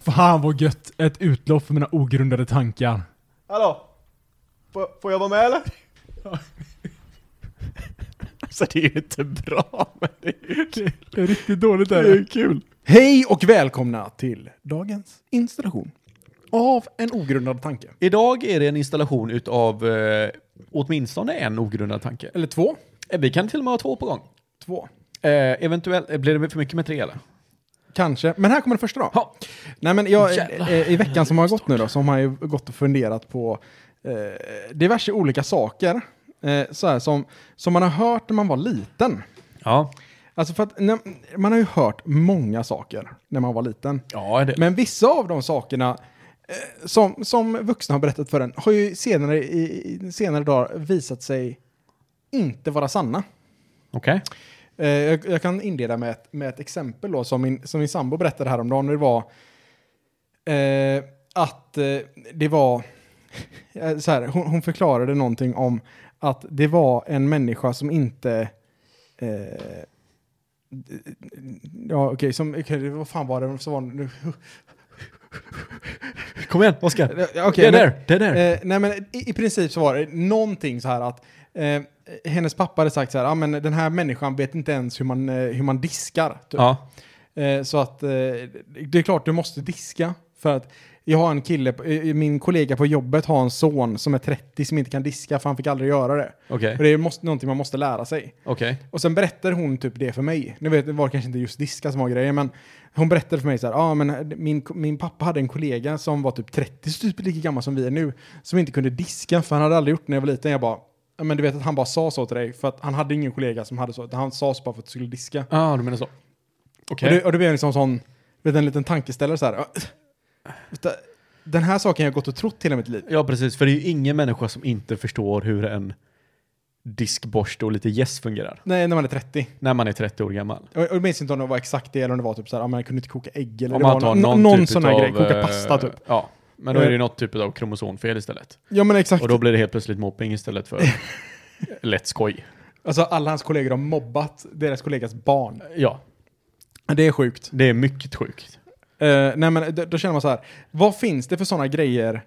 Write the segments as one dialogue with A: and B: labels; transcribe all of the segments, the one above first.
A: Fan vad gött! Ett utlopp för mina ogrundade tankar.
B: Hallå? Får, får jag vara med eller?
C: Alltså det är ju inte bra, men det är ju kul.
A: Det är riktigt dåligt
C: Det är ju kul.
A: Hej och välkomna till dagens installation av en ogrundad tanke.
C: Idag är det en installation utav eh, åtminstone en ogrundad tanke.
A: Eller två.
C: Eh, Vi kan till och med ha två på gång.
A: Två.
C: Eh, eventuellt, eh, blir det för mycket med tre eller?
A: Kanske. Men här kommer den första då.
C: Ja.
A: Nej men jag,
C: Jävlar.
A: eh, i veckan som har gått nu då, så har man ju gått och funderat på eh, diverse olika saker. Eh, så här, som, som man har hört när man var liten.
C: Ja,
A: Alltså för att när, man har ju hört många saker när man var liten.
C: ja det,
A: Men vissa av de sakerna eh, som, som vuxna har berättat för en har ju senare, i, i senare dagar visat sig inte vara sanna.
C: okej.
A: Eh, jag, jag kan inleda med ett, med ett exempel då, som min, som min sambo berättade häromdagen. och Det var eh, att eh, det var... eh, Så här, hon, hon förklarade någonting om att det var en människa som inte... Eh, d- ja, okej, som... okej, vad fan var det som var... nu-
C: Kom igen, Oskar.
A: Ja, okej,
C: det är
A: men-
C: där, det är där.
A: Eh, nej men i, i princip så var det någonting så här att eh, hennes pappa hade sagt så här, ah, men den här människan vet inte ens hur man, eh, hur man diskar. Typ.
C: ja.
A: Eh, så att eh, det är klart du måste diska för att jag har en kille, på- eh, min kollega på jobbet har en son som är 30 som inte kan diska för han fick aldrig göra det.
C: Okej,
A: Och det är måste, någonting man måste lära sig.
C: okej.
A: Och sen berättar hon typ det för mig. Nu vet, det var kanske inte just diska som var grejen, men hon berättade för mig så här, ah, men min, min pappa hade en kollega som var typ 30, så typ lika gammal som vi är nu, som inte kunde diska för han hade aldrig gjort det när jag var liten. Jag bara, "Ja, men du vet att han bara sa så till dig, för att han hade ingen kollega som hade så, utan han sa så bara för att du skulle diska.
C: Ja, ah, du menar så. Okej.
A: Och, det, och det blev liksom sån, vet, en liten tankeställare så här. "Ah, vänta, Den här saken har jag gått och trott hela mitt liv.
C: Ja, precis. För det är ju ingen människa som inte förstår hur en diskborste och lite gäss fungerar.
A: Nej, när man är 30.
C: När man är 30 år gammal.
A: Och och jag minns inte om det var exakt det eller om det var typ så här, ah, man kunde inte koka ägg eller
C: Om
A: det
C: man
A: var
C: tar
A: någon, någon,
C: någon,
A: någon
C: typ
A: sån
C: utav,
A: här grej, koka
C: eh,
A: pasta typ.
C: Ja, men då är det ju något typ av kromosomfel istället.
A: Ja men exakt.
C: Och då blir det helt plötsligt mobbing istället för lätt skoj.
A: Alltså alla hans kollegor har mobbat deras kollegas barn.
C: Ja,
A: Det är sjukt.
C: det är mycket sjukt.
A: Eh, nej men då, då känner man så här, vad finns det för sådana grejer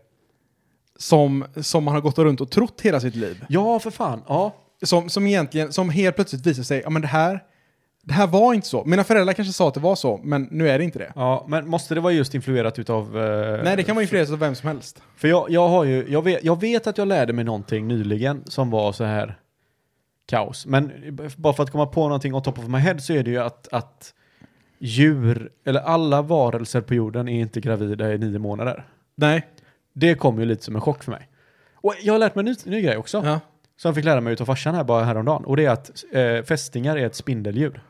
A: som, som man har gått runt och trott hela sitt liv?
C: Ja, för fan. Ja,
A: Som, som egentligen, som helt plötsligt visar sig, ja men det här, det här var inte så. Mina föräldrar kanske sa att det var så, men nu är det inte det.
C: ja men måste det vara just influerat utav... eh,
A: nej, det kan vara influerat av vem som helst.
C: För jag, jag har ju, jag vet, jag vet att jag lärde mig någonting nyligen som var så här kaos. Men bara för att komma på någonting on top of my head så är det ju att, att djur, eller alla varelser på jorden är inte gravida i nio månader.
A: Nej.
C: Det kom ju lite som en chock för mig. Och jag har lärt mig en ny, ny grej också,
A: Ja.
C: som jag fick lära mig utav farsan här bara häromdagen. Och det är att eh, fästingar är ett spindeldjur.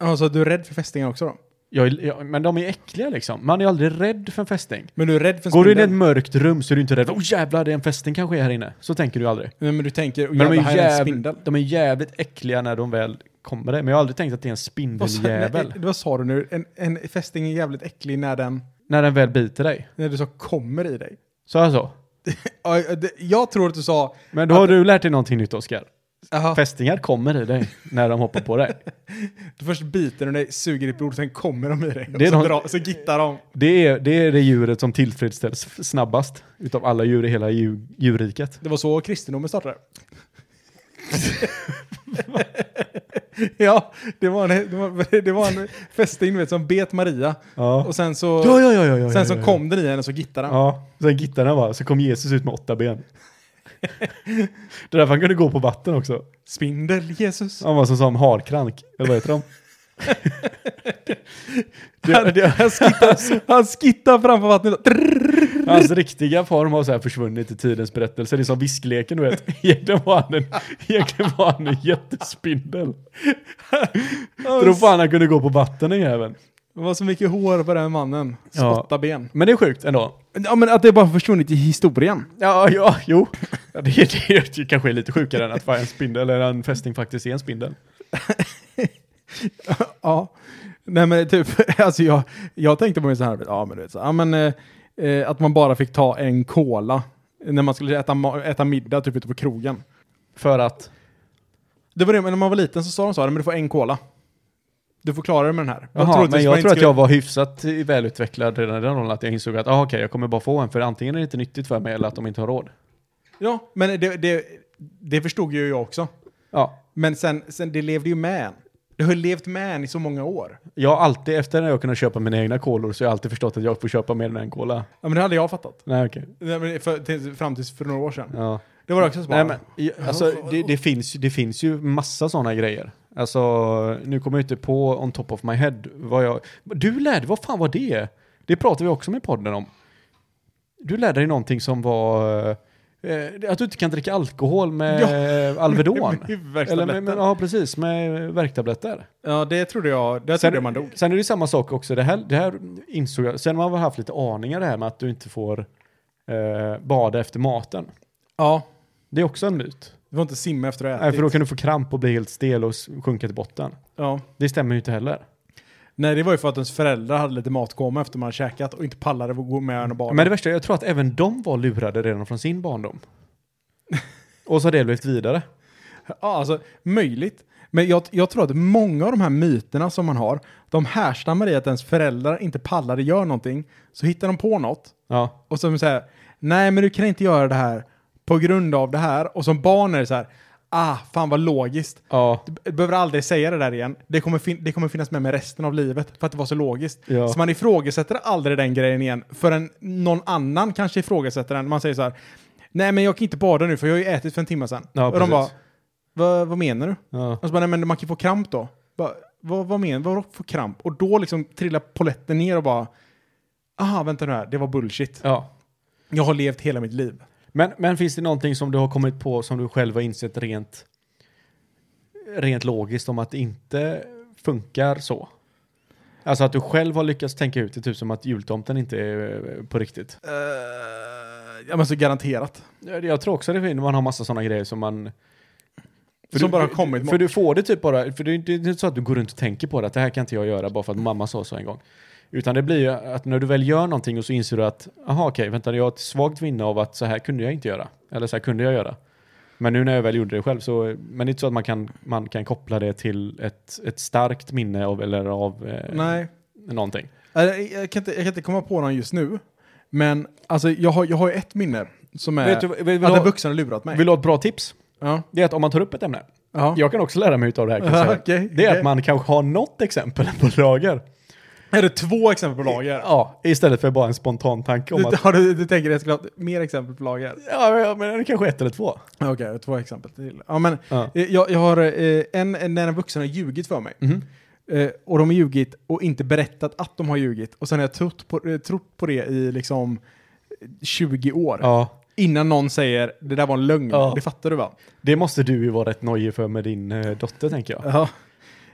A: Alltså du är rädd för fästingar också då?
C: Jag, är- jag, men de är äckliga liksom. Man är aldrig rädd för en fästing.
A: Men du är rädd för
C: Går du in i
A: spindel?
C: ett mörkt rum så är du inte rädd. Åh oh, jävlar, det är en fästing kanske är här inne. Så tänker du aldrig.
A: Nej, men du tänker,
C: Men de
A: jävlar, här är
C: är,
A: en
C: jävligt,
A: spindel.
C: de är jävligt äckliga när de väl kommer där. Men jag har aldrig tänkt att det är en
A: Vad sa-
C: spindeljävel.
A: nej, Vad sa du nu? En, en fästing är jävligt äcklig när den...
C: När den väl biter dig.
A: När du sa kommer i dig.
C: Så jag så?
A: Ja, ja, det- Jag tror att du sa...
C: Men då har du lärt dig någonting nytt Oskar.
A: Aha,
C: Fästingar kommer i dig när de hoppar på dig.
A: först biter de dig, suger ditt blod, sen kommer de i dig.
C: Det är
A: och så,
C: de-
A: dra, så gittar de.
C: Det är, det är det djuret som tillfredsställs f- snabbast utav alla djur i hela djur, djurriket.
A: Det var så kristendomen startade. ja, det var en, det var, det var en fästing du vet, som bet Maria.
C: Ja.
A: Och sen så,
C: Ja, ja, ja, ja, ja,
A: sen
C: ja,
A: så
C: ja.
A: kom den i henne så gittade den.
C: Ja, sen gittarna var, så kom Jesus ut med åtta ben. det är därför han kunde gå på vatten också.
A: Spindel Jesus.
C: Han var alltså som, som harkrank, eller vad heter de?
A: Han, han, skittar, han skittar framför vattnet.
C: Hans riktiga form har så här försvunnit i tidens berättelse. Det är som viskleken du vet. Egentligen var han en, egentligen var han en jättespindel. Tror fan han kunde gå på vatten den jäveln.
A: Det var så mycket hår på den mannen.
C: Ja.
A: Spotta ben.
C: Men det är sjukt ändå.
A: Ja, men att det bara försvunnit i historien.
C: Ja, ja, jo. Ja, Det, är- det, är- det kanske är lite sjukare än att vara en spindel eller en fästing faktiskt är en spindel.
A: Ja, nej men typ, alltså jag, jag tänkte på mig så här, ja men du vet så, här, ja men eh, eh, att man bara fick ta en cola när man skulle äta, ma- äta middag typ ute på krogen.
C: För att...
A: Det var det, men när man var liten så sa de så här, men du får en cola. Du får klara dig med den här. Vad
C: Jaha,
A: troligtvis man
C: men jag
A: inte
C: tror att
A: skulle-
C: jag var hyfsat välutvecklad redan i den åldern, att jag insåg att ah, okej, jag kommer bara få en, för antingen är det inte nyttigt för mig eller att de inte har råd.
A: Ja, men det, det, det förstod ju jag också.
C: Ja,
A: Men sen, sen det levde ju med en. Det har levt med en i så många år.
C: jag har alltid, efter när jag kunnat köpa mina egna kolor, så har jag alltid förstått att jag får köpa mer än en cola.
A: Ja, men det hade jag fattat.
C: Nej, okej.
A: Nej, men För, till, fram tills för några år sedan.
C: Ja.
A: Det var också
C: Nej,
A: smart.
C: men, i- alltså, det, det, finns, ju- det finns ju massa sådana grejer. Alltså, nu kommer jag inte på on top of my head vad jag... Du lärde, vad fan var det? Det pratade vi också med podden om. Du lärde dig någonting som var... Eh, att du inte kan dricka alkohol med Alvedon. Eller med, med, ja, precis, med värktabletter.
A: Ja, det trodde jag. Det trodde jag man dog.
C: sen är det samma sak också, det här, det här insåg jag, sen har man haft lite aningar det här med att du inte får eh, bada efter maten.
A: Ja,
C: Det är också en myt.
A: du får inte simma efter att ha
C: Nej,
A: ätit.
C: för då kan du få kramp och bli helt stel och s- sjunka till botten.
A: ja.
C: Det stämmer ju inte heller.
A: Nej, det var ju för att ens föräldrar hade lite matkoma efter man hade käkat och inte pallade att gå med en och bada.
C: Men det värsta, jag tror att även de var lurade redan från sin barndom. och så har det blivit vidare.
A: Ja, alltså möjligt. Men jag, jag tror att många av de här myterna som man har, de härstammar i att ens föräldrar inte pallade göra någonting, så hittar de på något
C: Ja.
A: och så säger nej men du kan inte göra det här på grund av det här och som barn är det så här, ah fan vad logiskt.
C: Ja.
A: Du behöver aldrig säga det där igen. Det kommer, fin- det kommer finnas med mig resten av livet för att det var så logiskt.
C: Ja.
A: Så man ifrågasätter aldrig den grejen igen förrän någon annan kanske ifrågasätter den. Man säger så här, nej men jag kan inte bada nu för jag har ju ätit för en timme sedan.
C: Ja,
A: och de bara,
C: precis.
A: "Va- vad menar du?
C: ja.
A: Och så bara, nej men man kan få kramp då. Bara, vad, vad menar du? Vadå för kramp? Och då liksom trillar poletten ner och bara, aha vänta nu här, det var bullshit.
C: ja.
A: Jag har levt hela mitt liv.
C: Men, men finns det någonting som du har kommit på som du själv har insett rent, rent logiskt om att det inte funkar så? Alltså att du själv har lyckats tänka ut det, typ som att jultomten inte är eh, på riktigt.
A: Uh, Eh, ja men så garanterat.
C: Jag tror också det finns, man har massa sådana grejer som man...
A: Som
C: du,
A: bara har kommit.
C: För du får det typ bara, för det är inte det är inte så att du går runt och tänker på det, att det här kan inte jag göra bara för att mamma sa så en gång. Utan det blir ju att när du väl gör någonting och så inser du att, aha okej, vänta, jag har ett svagt minne av att så här kunde jag inte göra. Eller så här kunde jag göra. Men nu när jag väl gjorde det själv så, men det är inte så att man kan, man kan koppla det till ett, ett starkt minne av, eller av eh,
A: Nej.
C: någonting.
A: Eh, Jag kan, inte, jag kan inte komma på någon just nu. Men alltså, jag, har, jag har ju ett minne som är
C: Vet du, vill, vill, du
A: att en
C: ha,
A: vuxen har lurat mig.
C: vill du ha ett bra tips?
A: ja.
C: Det är att om man tar upp ett ämne,
A: Ja.
C: jag kan också lära mig utav det här kan jag
A: Ja,
C: säga.
A: okej,
C: Det är
A: okej.
C: att man kanske har något exempel på lager.
A: Är det två exempel på lager?
C: Ja, istället för bara en spontan tanke om
A: Du,
C: att
A: har du, du tänker att jag skulle ha mer exempel på lager?
C: Ja, ja, men det är kanske ett eller två.
A: Ja, Okej, två exempel till. Ja, men,
C: Ja.
A: eh, jag, jag har eh, en, en- när en vuxen har ljugit för mig.
C: Mm-hmm.
A: Eh, och de har ljugit och inte berättat att de har ljugit. Och sen har jag trott på, eh, trott på det i liksom eh, 20 år.
C: Ja.
A: Innan någon säger det där var en lögn.
C: Ja.
A: Det fattar du va?
C: Det måste du ju vara rätt nojig för med din eh, dotter, tänker jag.
A: Ja.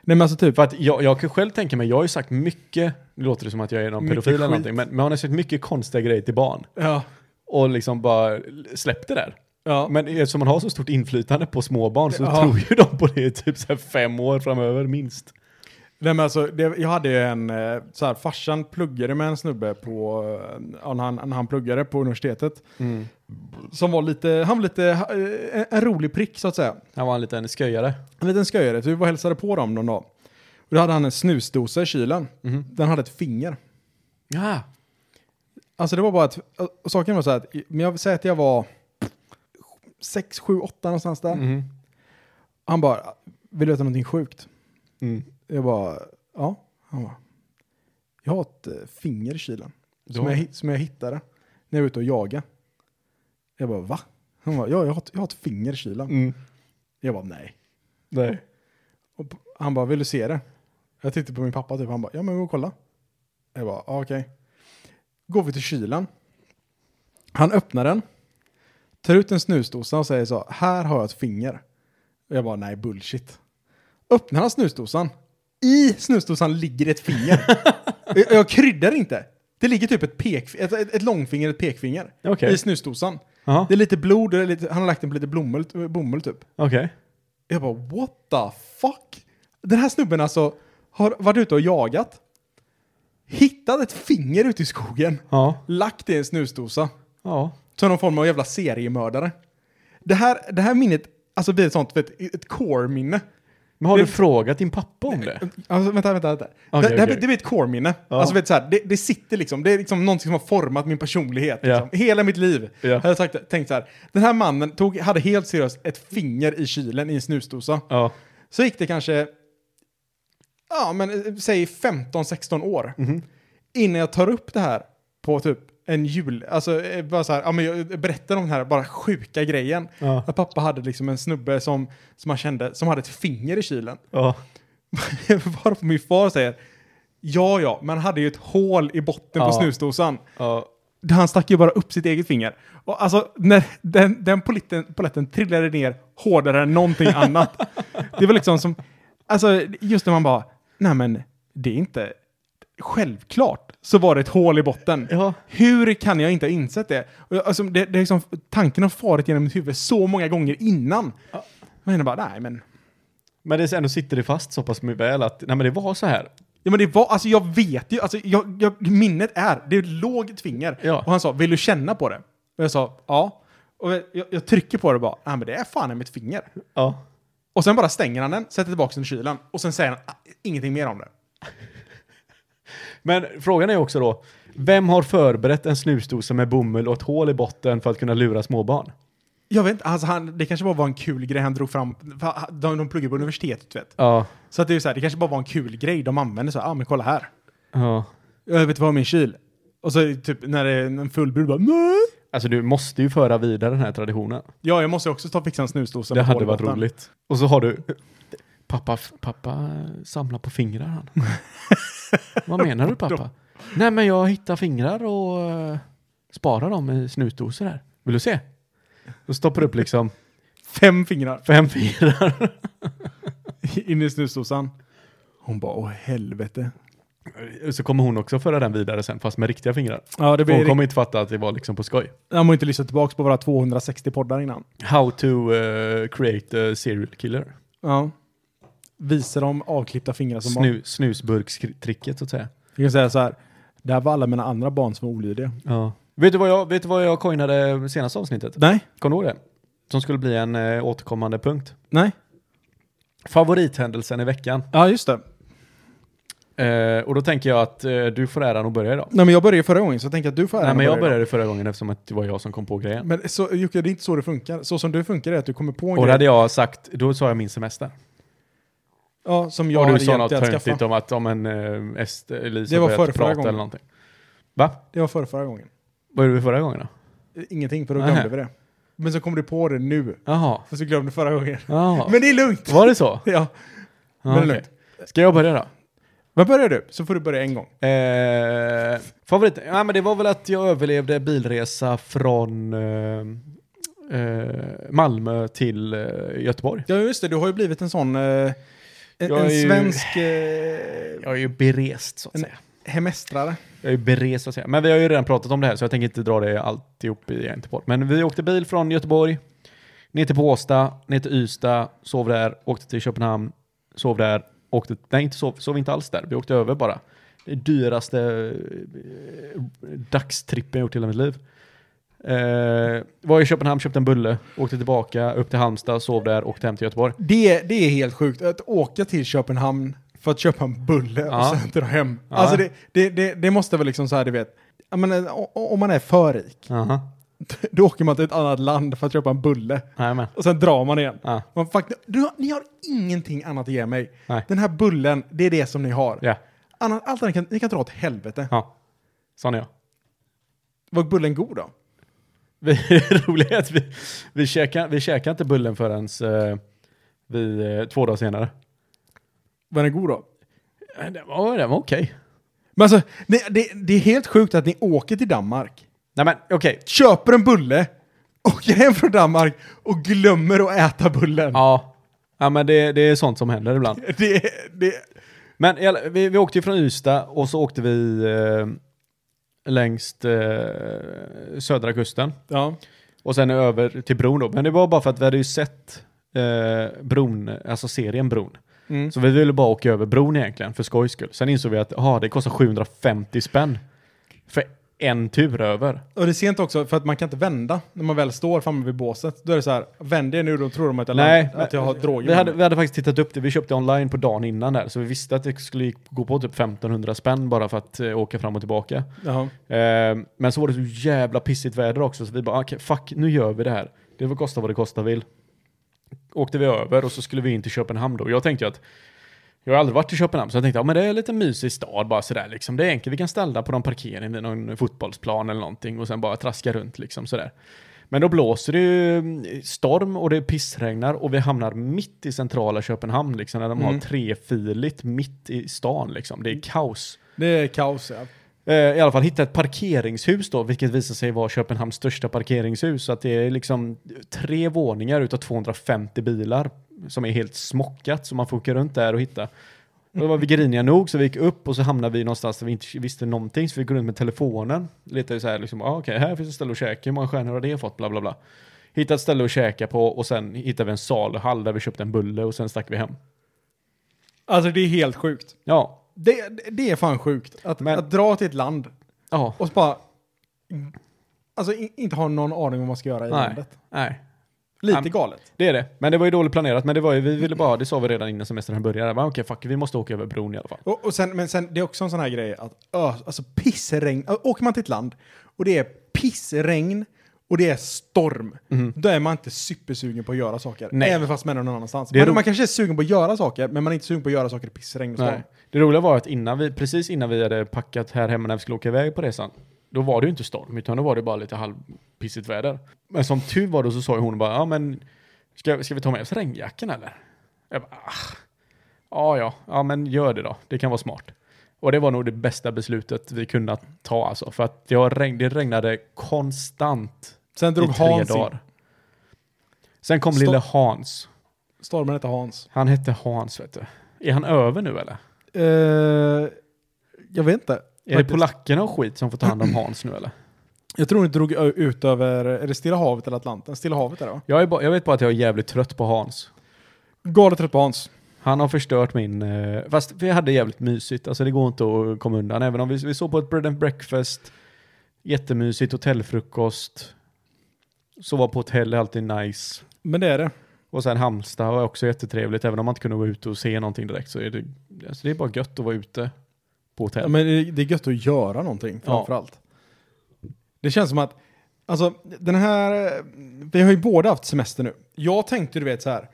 A: Nej men alltså typ.
C: För att jag, jag kan själv tänka mig, jag har ju sagt mycket, nu låter det som att jag är någon
A: Mycket
C: pedofil eller
A: skit.
C: någonting, men, men man har sagt mycket konstiga grejer till barn.
A: Ja.
C: Och liksom bara släppt det där.
A: Ja.
C: Men eftersom man har så stort inflytande på småbarn så
A: Ja.
C: tror ju de på det i typ så här fem år framöver minst.
A: Nej men alltså, det, jag hade ju en, eh, så här, farsan pluggade med en snubbe på, eh, ja, när han, när han pluggade på universitetet.
C: Mm.
A: Som var lite, han var lite, eh, en, en rolig prick så att säga.
C: Han var en liten sköjare.
A: En liten sköjare, så vi var och hälsade på dem någon dag. Och då hade han en snusdosa i kylen.
C: Mhm.
A: Den hade ett finger.
C: Ja.
A: Alltså det var bara att, och saken var så här, att, men jag säger att jag var 6, 7, 8 någonstans där.
C: Mm.
A: Han bara, "Ah, vill du veta någonting sjukt?
C: Mm.
A: Jag bara, ja. Han bara, jag har ett eh, finger i kylen. Som
C: har
A: jag, hi- som jag hittade när jag var ute och jagade. Jag bara, va? Han bara, ja, jag har ett, jag har ett finger i kylen.
C: Mm.
A: Jag bara, nej.
C: Nej.
A: Och p- han bara, vill du se det? Jag tittade på min pappa typ, han bara, ja men gå och kolla. Jag bara, ah, okej. Går vi till kylen. Han öppnar den. Tar ut en snusdosa och säger så, här har jag ett finger. Och jag bara, nej bullshit. Öppnar han snusdosan. I snusdosan ligger ett finger. jag, jag kryddar inte. Det ligger typ ett, pek, ett, ett, ett långfinger, ett pekfinger.
C: Okej.
A: I snusdosan.
C: Ja,
A: Det är lite blod, och det är lite, han har lagt den på lite bomull, bomull typ.
C: okej.
A: Jag bara what the fuck? Den här snubben alltså har varit ute och jagat. Hittat ett finger ute i skogen.
C: Ja.
A: Lagt det i en snusdosa.
C: Ja.
A: Som någon form av jävla seriemördare. Det här, det här minnet, alltså blir ett sånt, vet, ett core-minne.
C: Men har
A: Det-
C: du frågat din pappa om det?
A: Alltså, vänta, vänta, vänta.
C: Okej,
A: det, det, här
C: okej.
A: blir- det blir ett core-minne.
C: Ja.
A: Alltså, vet, du, så här, det, det sitter liksom, det är liksom någonting som har format min personlighet.
C: Ja.
A: Liksom. Hela mitt liv.
C: Ja.
A: Jag hade sagt, tänkt så här, den här mannen tog, hade helt seriöst ett finger i kylen i en snusdosa.
C: Ja.
A: Så gick det kanske, ja men eh, säg 15-16 år.
C: Mhm.
A: Innan jag tar upp det här på typ en jul, alltså eh, bara så här, ja men jag berättar om den här bara sjuka grejen.
C: Ja.
A: Att pappa hade liksom en snubbe som, som han kände, som hade ett finger i kylen.
C: ja.
A: Varför min far säger, ja ja, man hade ju ett hål i botten
C: Ja.
A: på snusdosan.
C: ja.
A: Han stack ju bara upp sitt eget finger. Och alltså, när den, den politten, poletten trillade ner hårdare än någonting annat. Det var liksom som, alltså just när man bara, nej men det är inte, självklart så var det ett hål i botten.
C: Ja.
A: Hur kan jag inte ha insett det? Och jag- Alltså, det, det är liksom, tanken har farit genom mitt huvud så många gånger innan. Men jag bara, nej men,
C: Men det är så ändå sitter det fast så pass mycket väl att, nej men det var så här.
A: Ja men det var, alltså jag vet ju, alltså jag, jag, minnet är, det låg ett finger.
C: Ja.
A: Och han sa, vill du känna på det? Och jag sa, ja. Och jag, jag trycker på det och bara, nej men det är fan i mitt finger.
C: Ja.
A: Och sen bara stänger han den, sätter tillbaka den i kylen. Och sen säger han "Ah, ingenting mer om det.
C: Men frågan är också då, vem har förberett en snusdosa med bomull och ett hål i botten för att kunna lura småbarn?
A: Jag vet inte, alltså han, det kanske bara var en kul grej han drog fram. för han- De, de pluggar på universitetet vet.
C: Ja.
A: Så att det är så här, det kanske bara var en kul grej de använde. Så här, ah men kolla här.
C: ja.
A: Jag vet vad min kyl. Och så typ när det är en full brud bara, nej.
C: Alltså du måste ju föra vidare den här traditionen.
A: Ja, jag måste också ta och fixa en snusdosa.
C: det
A: med
C: hade
A: hål i
C: varit
A: botten.
C: roligt. Och så har du, pappa, pappa samlar på fingrar han. Vad menar du pappa? Nej men jag hittar fingrar och eh, sparar dem i snusdosor här. Vill du se? Då stoppar du upp liksom
A: Fem fingrar.
C: fem fingrar.
A: in i snusdosan. Hon bara, åh helvete.
C: Så kommer hon också föra den vidare sen, fast med riktiga fingrar.
A: Ja, det
C: Hon
A: blir...
C: kommer inte fatta att det var liksom på skoj.
A: Han har inte lyssnat tillbaka på våra 260 poddar innan.
C: How to eh, create a serial killer.
A: Ja. Visar dem avklippta fingrar som barn.
C: Snu, snusburkstricket så att säga.
A: Jag kan säga så här, där var alla mina andra barn som var olydiga.
C: Ja. Vet, du vad jag, vet du vad jag coinade senaste avsnittet?
A: Nej,
C: Kommer du ihåg det? Som skulle bli en eh, återkommande punkt.
A: nej.
C: Favorithändelsen i veckan.
A: Ja, just det.
C: Eh, och då tänker jag att eh, du får äran att börja idag.
A: Nej, men jag började förra gången så jag tänker att du får äran
C: Nej,
A: att
C: men jag
A: börja idag.
C: började förra gången eftersom att det var jag som kom på grejen.
A: Men så, Jocke, det är inte så det funkar. Så som du funkar är att du kommer på en
C: Och då hade
A: grej
C: jag sagt, då sa jag min semester.
A: ja, som jag
C: Jag och du
A: hade
C: sa
A: hjälpt
C: något
A: dig att
C: töntigt
A: skaffa.
C: om att om en eh, est, Elisa
A: Det var
C: börjat
A: förra
C: prata
A: gången.
C: eller någonting. Va?
A: Det var förra, förra gången.
C: Vad gjorde vi förra gången då?
A: Ingenting, för då
C: Nähä.
A: glömde vi det. Men så kom du på det nu,
C: Jaha.
A: för så glömde du förra gången.
C: Jaha.
A: Men det är lugnt!
C: Var det så?
A: Ja.
C: Ja,
A: Men
C: okej.
A: lugnt.
C: Ska jag börja då?
A: Men börjar du, så får du börja en gång.
C: Eh, favorit? Ja, men det var väl att jag överlevde bilresa från eh, eh, Malmö till eh, Göteborg.
A: Ja, just det. Du har ju blivit en sån... Eh, en,
C: Jag är
A: en
C: ju-
A: svensk eh,
C: Jag är ju berest så att
A: En-
C: säga.
A: hemestrare.
C: Jag är ju berest så att säga. Men vi har ju redan pratat om det här så jag tänker inte dra det alltihop i en till podd. Men vi åkte bil från Göteborg, ner till Båstad, ner till Ystad, sov där, åkte till Köpenhamn, sov där, åkte, nej inte sov, sov inte alls där, vi åkte över bara. Det dyraste eh, dagstrippen jag gjort i hela mitt liv. Eh, var i Köpenhamn, köpte en bulle, åkte tillbaka, upp till Halmstad, sov där, åkte hem till Göteborg.
A: Det, det är helt sjukt. Att åka till Köpenhamn för att köpa en bulle
C: Ja.
A: och sen dra hem.
C: Ja.
A: Alltså det, det, det, det måste väl liksom så här, du vet. Jag menar, o- o- om man är för rik,
C: Jaha,
A: då åker man till ett annat land för att köpa en bulle.
C: jajamän.
A: Och sen drar man igen.
C: Ja.
A: Man, fuck, du, har- ni har ingenting annat att ge mig.
C: Nej.
A: Den här bullen, det är det som ni har.
C: Ja,
A: Annat, allt annat kan, ni kan dra åt helvete.
C: ja. Sån är jag.
A: Var bullen god då?
C: Vi, roligt att vi, vi, käkar, vi käkar inte bullen förrän eh, vi, eh, två dagar senare.
A: Var den god då?
C: Eh, Det var, det var okej.
A: Men alltså, det, det, det är helt sjukt att ni åker till Danmark,
C: Nej men okej.
A: köper en bulle, åker hem från Danmark och glömmer att äta bullen.
C: Ja. ja, men det, det är sånt som händer ibland.
A: Det, det,
C: Men i alla- vi, vi åkte ju från Ystad och så åkte vi eh, längs eh, södra kusten.
A: ja.
C: Och sen över till bron då. Men det var bara för att vi hade ju sett eh, bron, alltså serien Bron.
A: Mm.
C: Så vi ville bara åka över bron egentligen för skojs skull. Sen insåg vi att aha, det kostar 750 spänn för en tur över.
A: Och det är sent också, för att man kan inte vända när man väl står framme vid båset. Då är det så här, vänd er nu, då tror de att jag,
C: Nej,
A: land,
C: men-
A: att jag har droger.
C: Vi
A: med
C: hade,
A: mig.
C: vi hade faktiskt tittat upp det, vi köpte online på dagen innan där, så vi visste att det skulle gå på typ 1500 spänn bara för att eh, åka fram och tillbaka.
A: Jaha.
C: Eh, men så var det så jävla pissigt väder också, så vi bara, okej, fuck, nu gör vi det här. Det får kosta vad det kosta vill. Åkte vi över och så skulle vi in till Köpenhamn då. Jag tänkte ju att, jag har aldrig varit i Köpenhamn, så jag tänkte, ja men det är en liten mysig stad bara sådär liksom. Det är enkelt, vi kan ställa på någon parkering vid någon fotbollsplan eller någonting och sen bara traska runt liksom sådär. Men då blåser det ju mm, storm och det pissregnar och vi hamnar mitt i centrala Köpenhamn liksom, när de har
A: Mm.
C: trefiligt mitt i stan liksom. Det är kaos.
A: Det är kaos ja.
C: Eh, I alla fall hitta ett parkeringshus då, vilket visar sig vara Köpenhamns största parkeringshus. Så att det är liksom tre våningar utav 250 bilar som är helt smockat, så man får åka runt där och hitta. Och då var vi griniga nog, så vi gick upp och så hamnade vi någonstans där vi inte visste någonting, så vi gick runt med telefonen. Letade ju så här, liksom, ah, okej, här finns ett ställe att käka, hur många stjärnor har det fått, bla bla bla. Hittade ett ställe att käka på och sen hittade vi en saluhall där vi köpte en bulle och sen stack vi hem.
A: Alltså det är helt sjukt.
C: Ja,
A: Det, det- det är fan sjukt. Att,
C: Men-
A: att dra till ett land
C: ja,
A: och så bara... Alltså i- inte ha någon aning om vad man ska göra i
C: Nej.
A: landet.
C: nej.
A: Lite
C: Am-
A: galet.
C: Det är det. Men det var ju dåligt planerat. Men det var ju, vi ville bara, det sa vi redan innan semestern började. Bara, Okej, fuck, vi måste åka över bron i alla fall.
A: Och, och sen, men sen, det är också en sån här grej att ö, alltså pissregn. Ö, Åker man till ett land och det är pissregn och det är storm, då är man inte supersugen på att göra saker.
C: Nej.
A: Även fast man är någon annanstans.
C: Det är
A: Man,
C: ro-
A: man kanske är sugen på att göra saker, men man är inte sugen på att göra saker i pissregn och storm.
C: Nej. Det roliga var att innan vi, precis innan vi hade packat här hemma när vi skulle åka iväg på resan, då var det ju inte storm, utan då var det bara lite halvpissigt väder. Men som tur var då så sa ju hon bara, ja men, ska, ska vi ta med oss regnjackan eller? Jag bara, ah, ja, ja, ja men gör det då, det kan vara smart. Och det var nog det bästa beslutet vi kunde ta alltså, för att jag regn, det regnade konstant
A: Sen drog
C: i tre
A: Hans in.
C: dagar. Sen kom
A: Stopp.
C: lille Hans.
A: Stormen hette Hans.
C: Han hette Hans, vet du. Är han över nu eller?
A: Eh, jag vet inte.
C: Är det
A: Faktiskt.
C: polackerna och skit som får ta hand om Hans nu eller?
A: Jag tror det drog ö- ut över, är det Stilla havet eller Atlanten? Stilla havet är det va?
C: Jag, är bara, jag vet bara att jag är jävligt trött på Hans.
A: Galet trött på Hans.
C: Han har förstört min... eh, Fast vi hade jävligt mysigt. Alltså det går inte att komma undan. Även om vi, vi såg på ett bread and breakfast, jättemysigt hotellfrukost, sova på hotell är alltid nice.
A: Men det är det.
C: Och sen Halmstad var också jättetrevligt. Även om man inte kunde gå ut och se någonting direkt så är det, alltså det är bara gött att vara ute på hotell.
A: Ja, men det- det är gött att göra någonting framförallt. Det känns som att, alltså den här, eh, vi har ju båda haft semester nu. Jag tänkte du vet så här,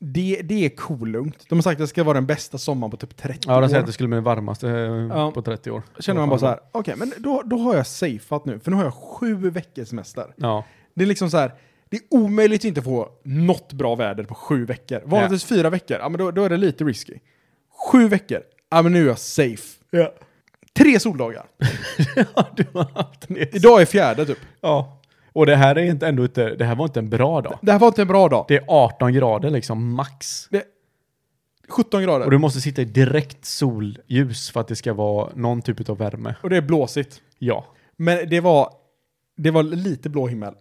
A: det, det är kolugnt. De har sagt att det ska vara den bästa sommaren på typ 30
C: Ja, de säger
A: år.
C: att det skulle bli den varmaste eh,
A: Ja.
C: på 30 år.
A: Känner man bara så här, okej men då, då har jag safeat nu, för nu har jag sju veckors semester.
C: Ja,
A: Det är liksom så här, det är omöjligt att inte få något bra väder på sju veckor. Vanligtvis fyra veckor, ja men då, då är det lite risky. Sju veckor, ja men nu är jag safe. Tre soldagar.
C: du har haft det.
A: Idag är fjärde typ.
C: Ja. Och det här är inte, ändå inte, det här var inte en bra dag.
A: Det här var inte en bra dag.
C: Det är 18 grader liksom, max.
A: Det, 17 grader.
C: Och du måste sitta i direkt solljus för att det ska vara någon typ av värme.
A: och det är blåsigt.
C: Ja.
A: Men det var, det var lite blå himmel.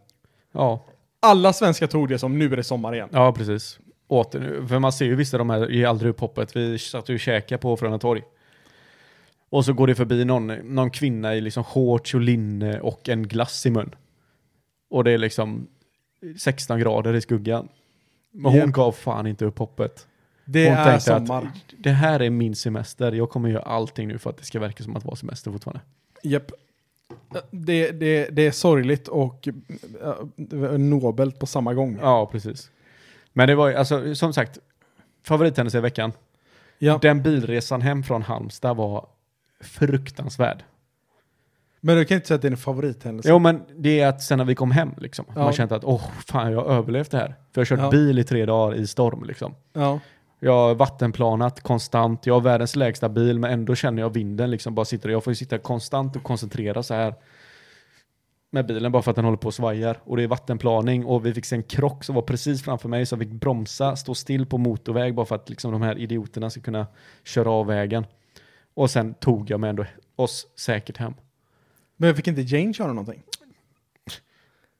C: Ja,
A: Alla svenskar tog det som nu är det sommar igen.
C: ja precis. Åter nu. För man ser ju vissa de här, ger aldrig upp hoppet. Vi satt ju och käkade på Frölunda torg. Och så går det förbi någon, någon kvinna i liksom shorts och linne och en glass i mun. Och det är liksom 16 grader i skuggan. Men hon
A: Japp.
C: gav fan inte upp hoppet.
A: Det
C: hon
A: är sommar.
C: att det här är min semester, jag kommer göra allting nu för att det ska verka som att vara semester fortfarande.
A: Japp. Det, det, det är sorgligt och äh, nobelt på samma gång.
C: Ja, precis. Men det var ju, alltså som sagt, favorithändelse i veckan.
A: Ja.
C: Den bilresan hem från Halmstad var fruktansvärd.
A: Men du kan inte säga att det är en favorithändelse.
C: Jo, men det är att sen när vi kom hem liksom,
A: Alltså. Ja.
C: man kände att åh, fan jag har överlevt det här. För jag har kört
A: Ja.
C: bil i tre dagar i storm liksom.
A: Ja.
C: Jag har vattenplanat konstant, jag har världens lägsta bil, men ändå känner jag vinden liksom bara sitter. Jag får ju sitta konstant och koncentrera så här med bilen bara för att den håller på och svajar. Och det är vattenplaning och vi fick se en krock som var precis framför mig så jag fick bromsa, stå still på motorväg bara för att liksom de här idioterna ska kunna köra av vägen. Och sen tog jag mig ändå oss säkert hem.
A: Men jag fick inte Jane köra någonting?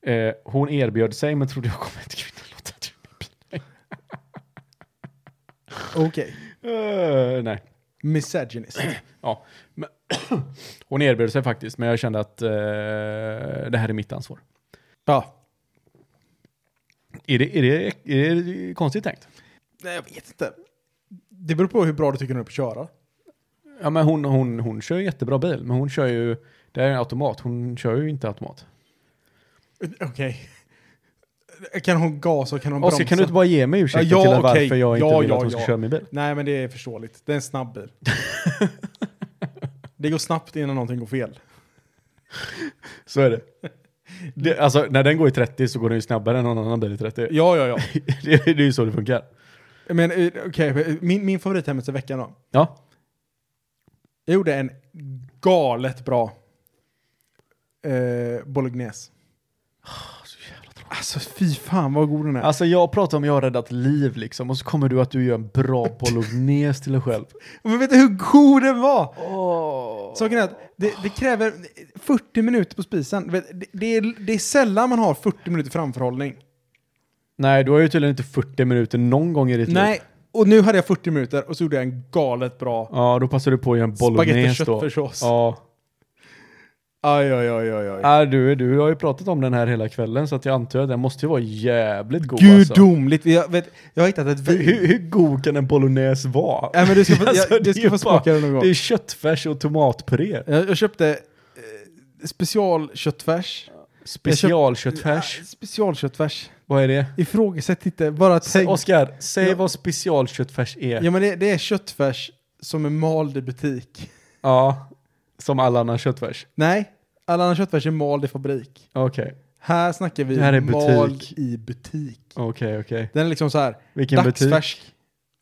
C: Eh, hon erbjöd sig men trodde jag kommer inte kunna låta det.
A: Okej.
C: Eh, nej. Eh,
A: Misogynist.
C: Ja. Men Hon erbjöd sig faktiskt, men jag kände att eh, det här är mitt ansvar.
A: Ja.
C: Är det, är det, är det konstigt tänkt?
A: Nej, jag vet inte. Det beror på hur bra du tycker hon är på att köra.
C: Ja, men hon, hon, hon kör ju jättebra bil, men hon kör ju... Det här är en automat, hon kör ju inte automat.
A: Okej. Kan hon gasa och kan hon bromsa?
C: Oskar, kan du inte bara ge mig ursäkten
A: Ja, ja,
C: till
A: okej.
C: varför jag inte
A: Ja,
C: vill
A: ja,
C: att hon ska
A: ja.
C: köra min bil?
A: Nej, men det är förståeligt. Det är en snabb bil. det går snabbt innan någonting går fel.
C: Så är det. det. Alltså, när den går i 30 så går den ju snabbare än någon annan bil i 30.
A: Ja, ja, ja.
C: det, det är ju så det funkar.
A: Men eh, okej, min, min favorit hemmet i veckan då.
C: Ja.
A: Jag gjorde en galet bra eh, bolognese. Alltså fy fan vad god den är.
C: Alltså jag pratar om jag har räddat liv liksom och så kommer du att du gör en bra bolognese till dig själv.
A: Men vet du hur god den var? Saken är att det, det kräver 40 minuter på spisen. Vet, Det, det, är, det är sällan man har 40 minuter framförhållning.
C: Nej, du har ju tydligen inte 40 minuter någon gång i ditt liv.
A: Nej, och nu hade jag 40 minuter och så gjorde jag en galet bra.
C: Ja, då passar du på att göra en bolognese
A: Spagetti och
C: då.
A: köttfärssås.
C: Ja.
A: Aj, aj, aj, aj, aj.
C: Äh, du, du har ju pratat om den här hela kvällen så att jag antar att den måste ju vara jävligt god alltså.
A: Gudomligt. Jag, vet, jag har hittat ett
C: Hur-
A: vin.
C: Hur, hur god kan en bolognese vara?
A: Nej, men du ska få,
C: Alltså,
A: Äh, jag,
C: det
A: du
C: är
A: ska
C: ju
A: få
C: bara-
A: smaka det någon gång.
C: Det är köttfärs och tomatpuré.
A: Jag, jag köpte eh, specialköttfärs.
C: Specialköttfärs.
A: Ja, Specialköttfärs.
C: Vad är det?
A: Ifrågasätt inte, bara tänk.
C: Oskar, säg
A: Ja.
C: vad specialköttfärs är.
A: Ja men det, det är köttfärs som är mald i butik.
C: Ja, som alla andra köttfärs.
A: Nej, alla andra köttfärs är mald i fabrik.
C: Okej,
A: Här snackar vi
C: Det här är butik.
A: mald i butik.
C: okej, okej.
A: Den är liksom så här,
C: Vilken butik?
A: dagsfärsk,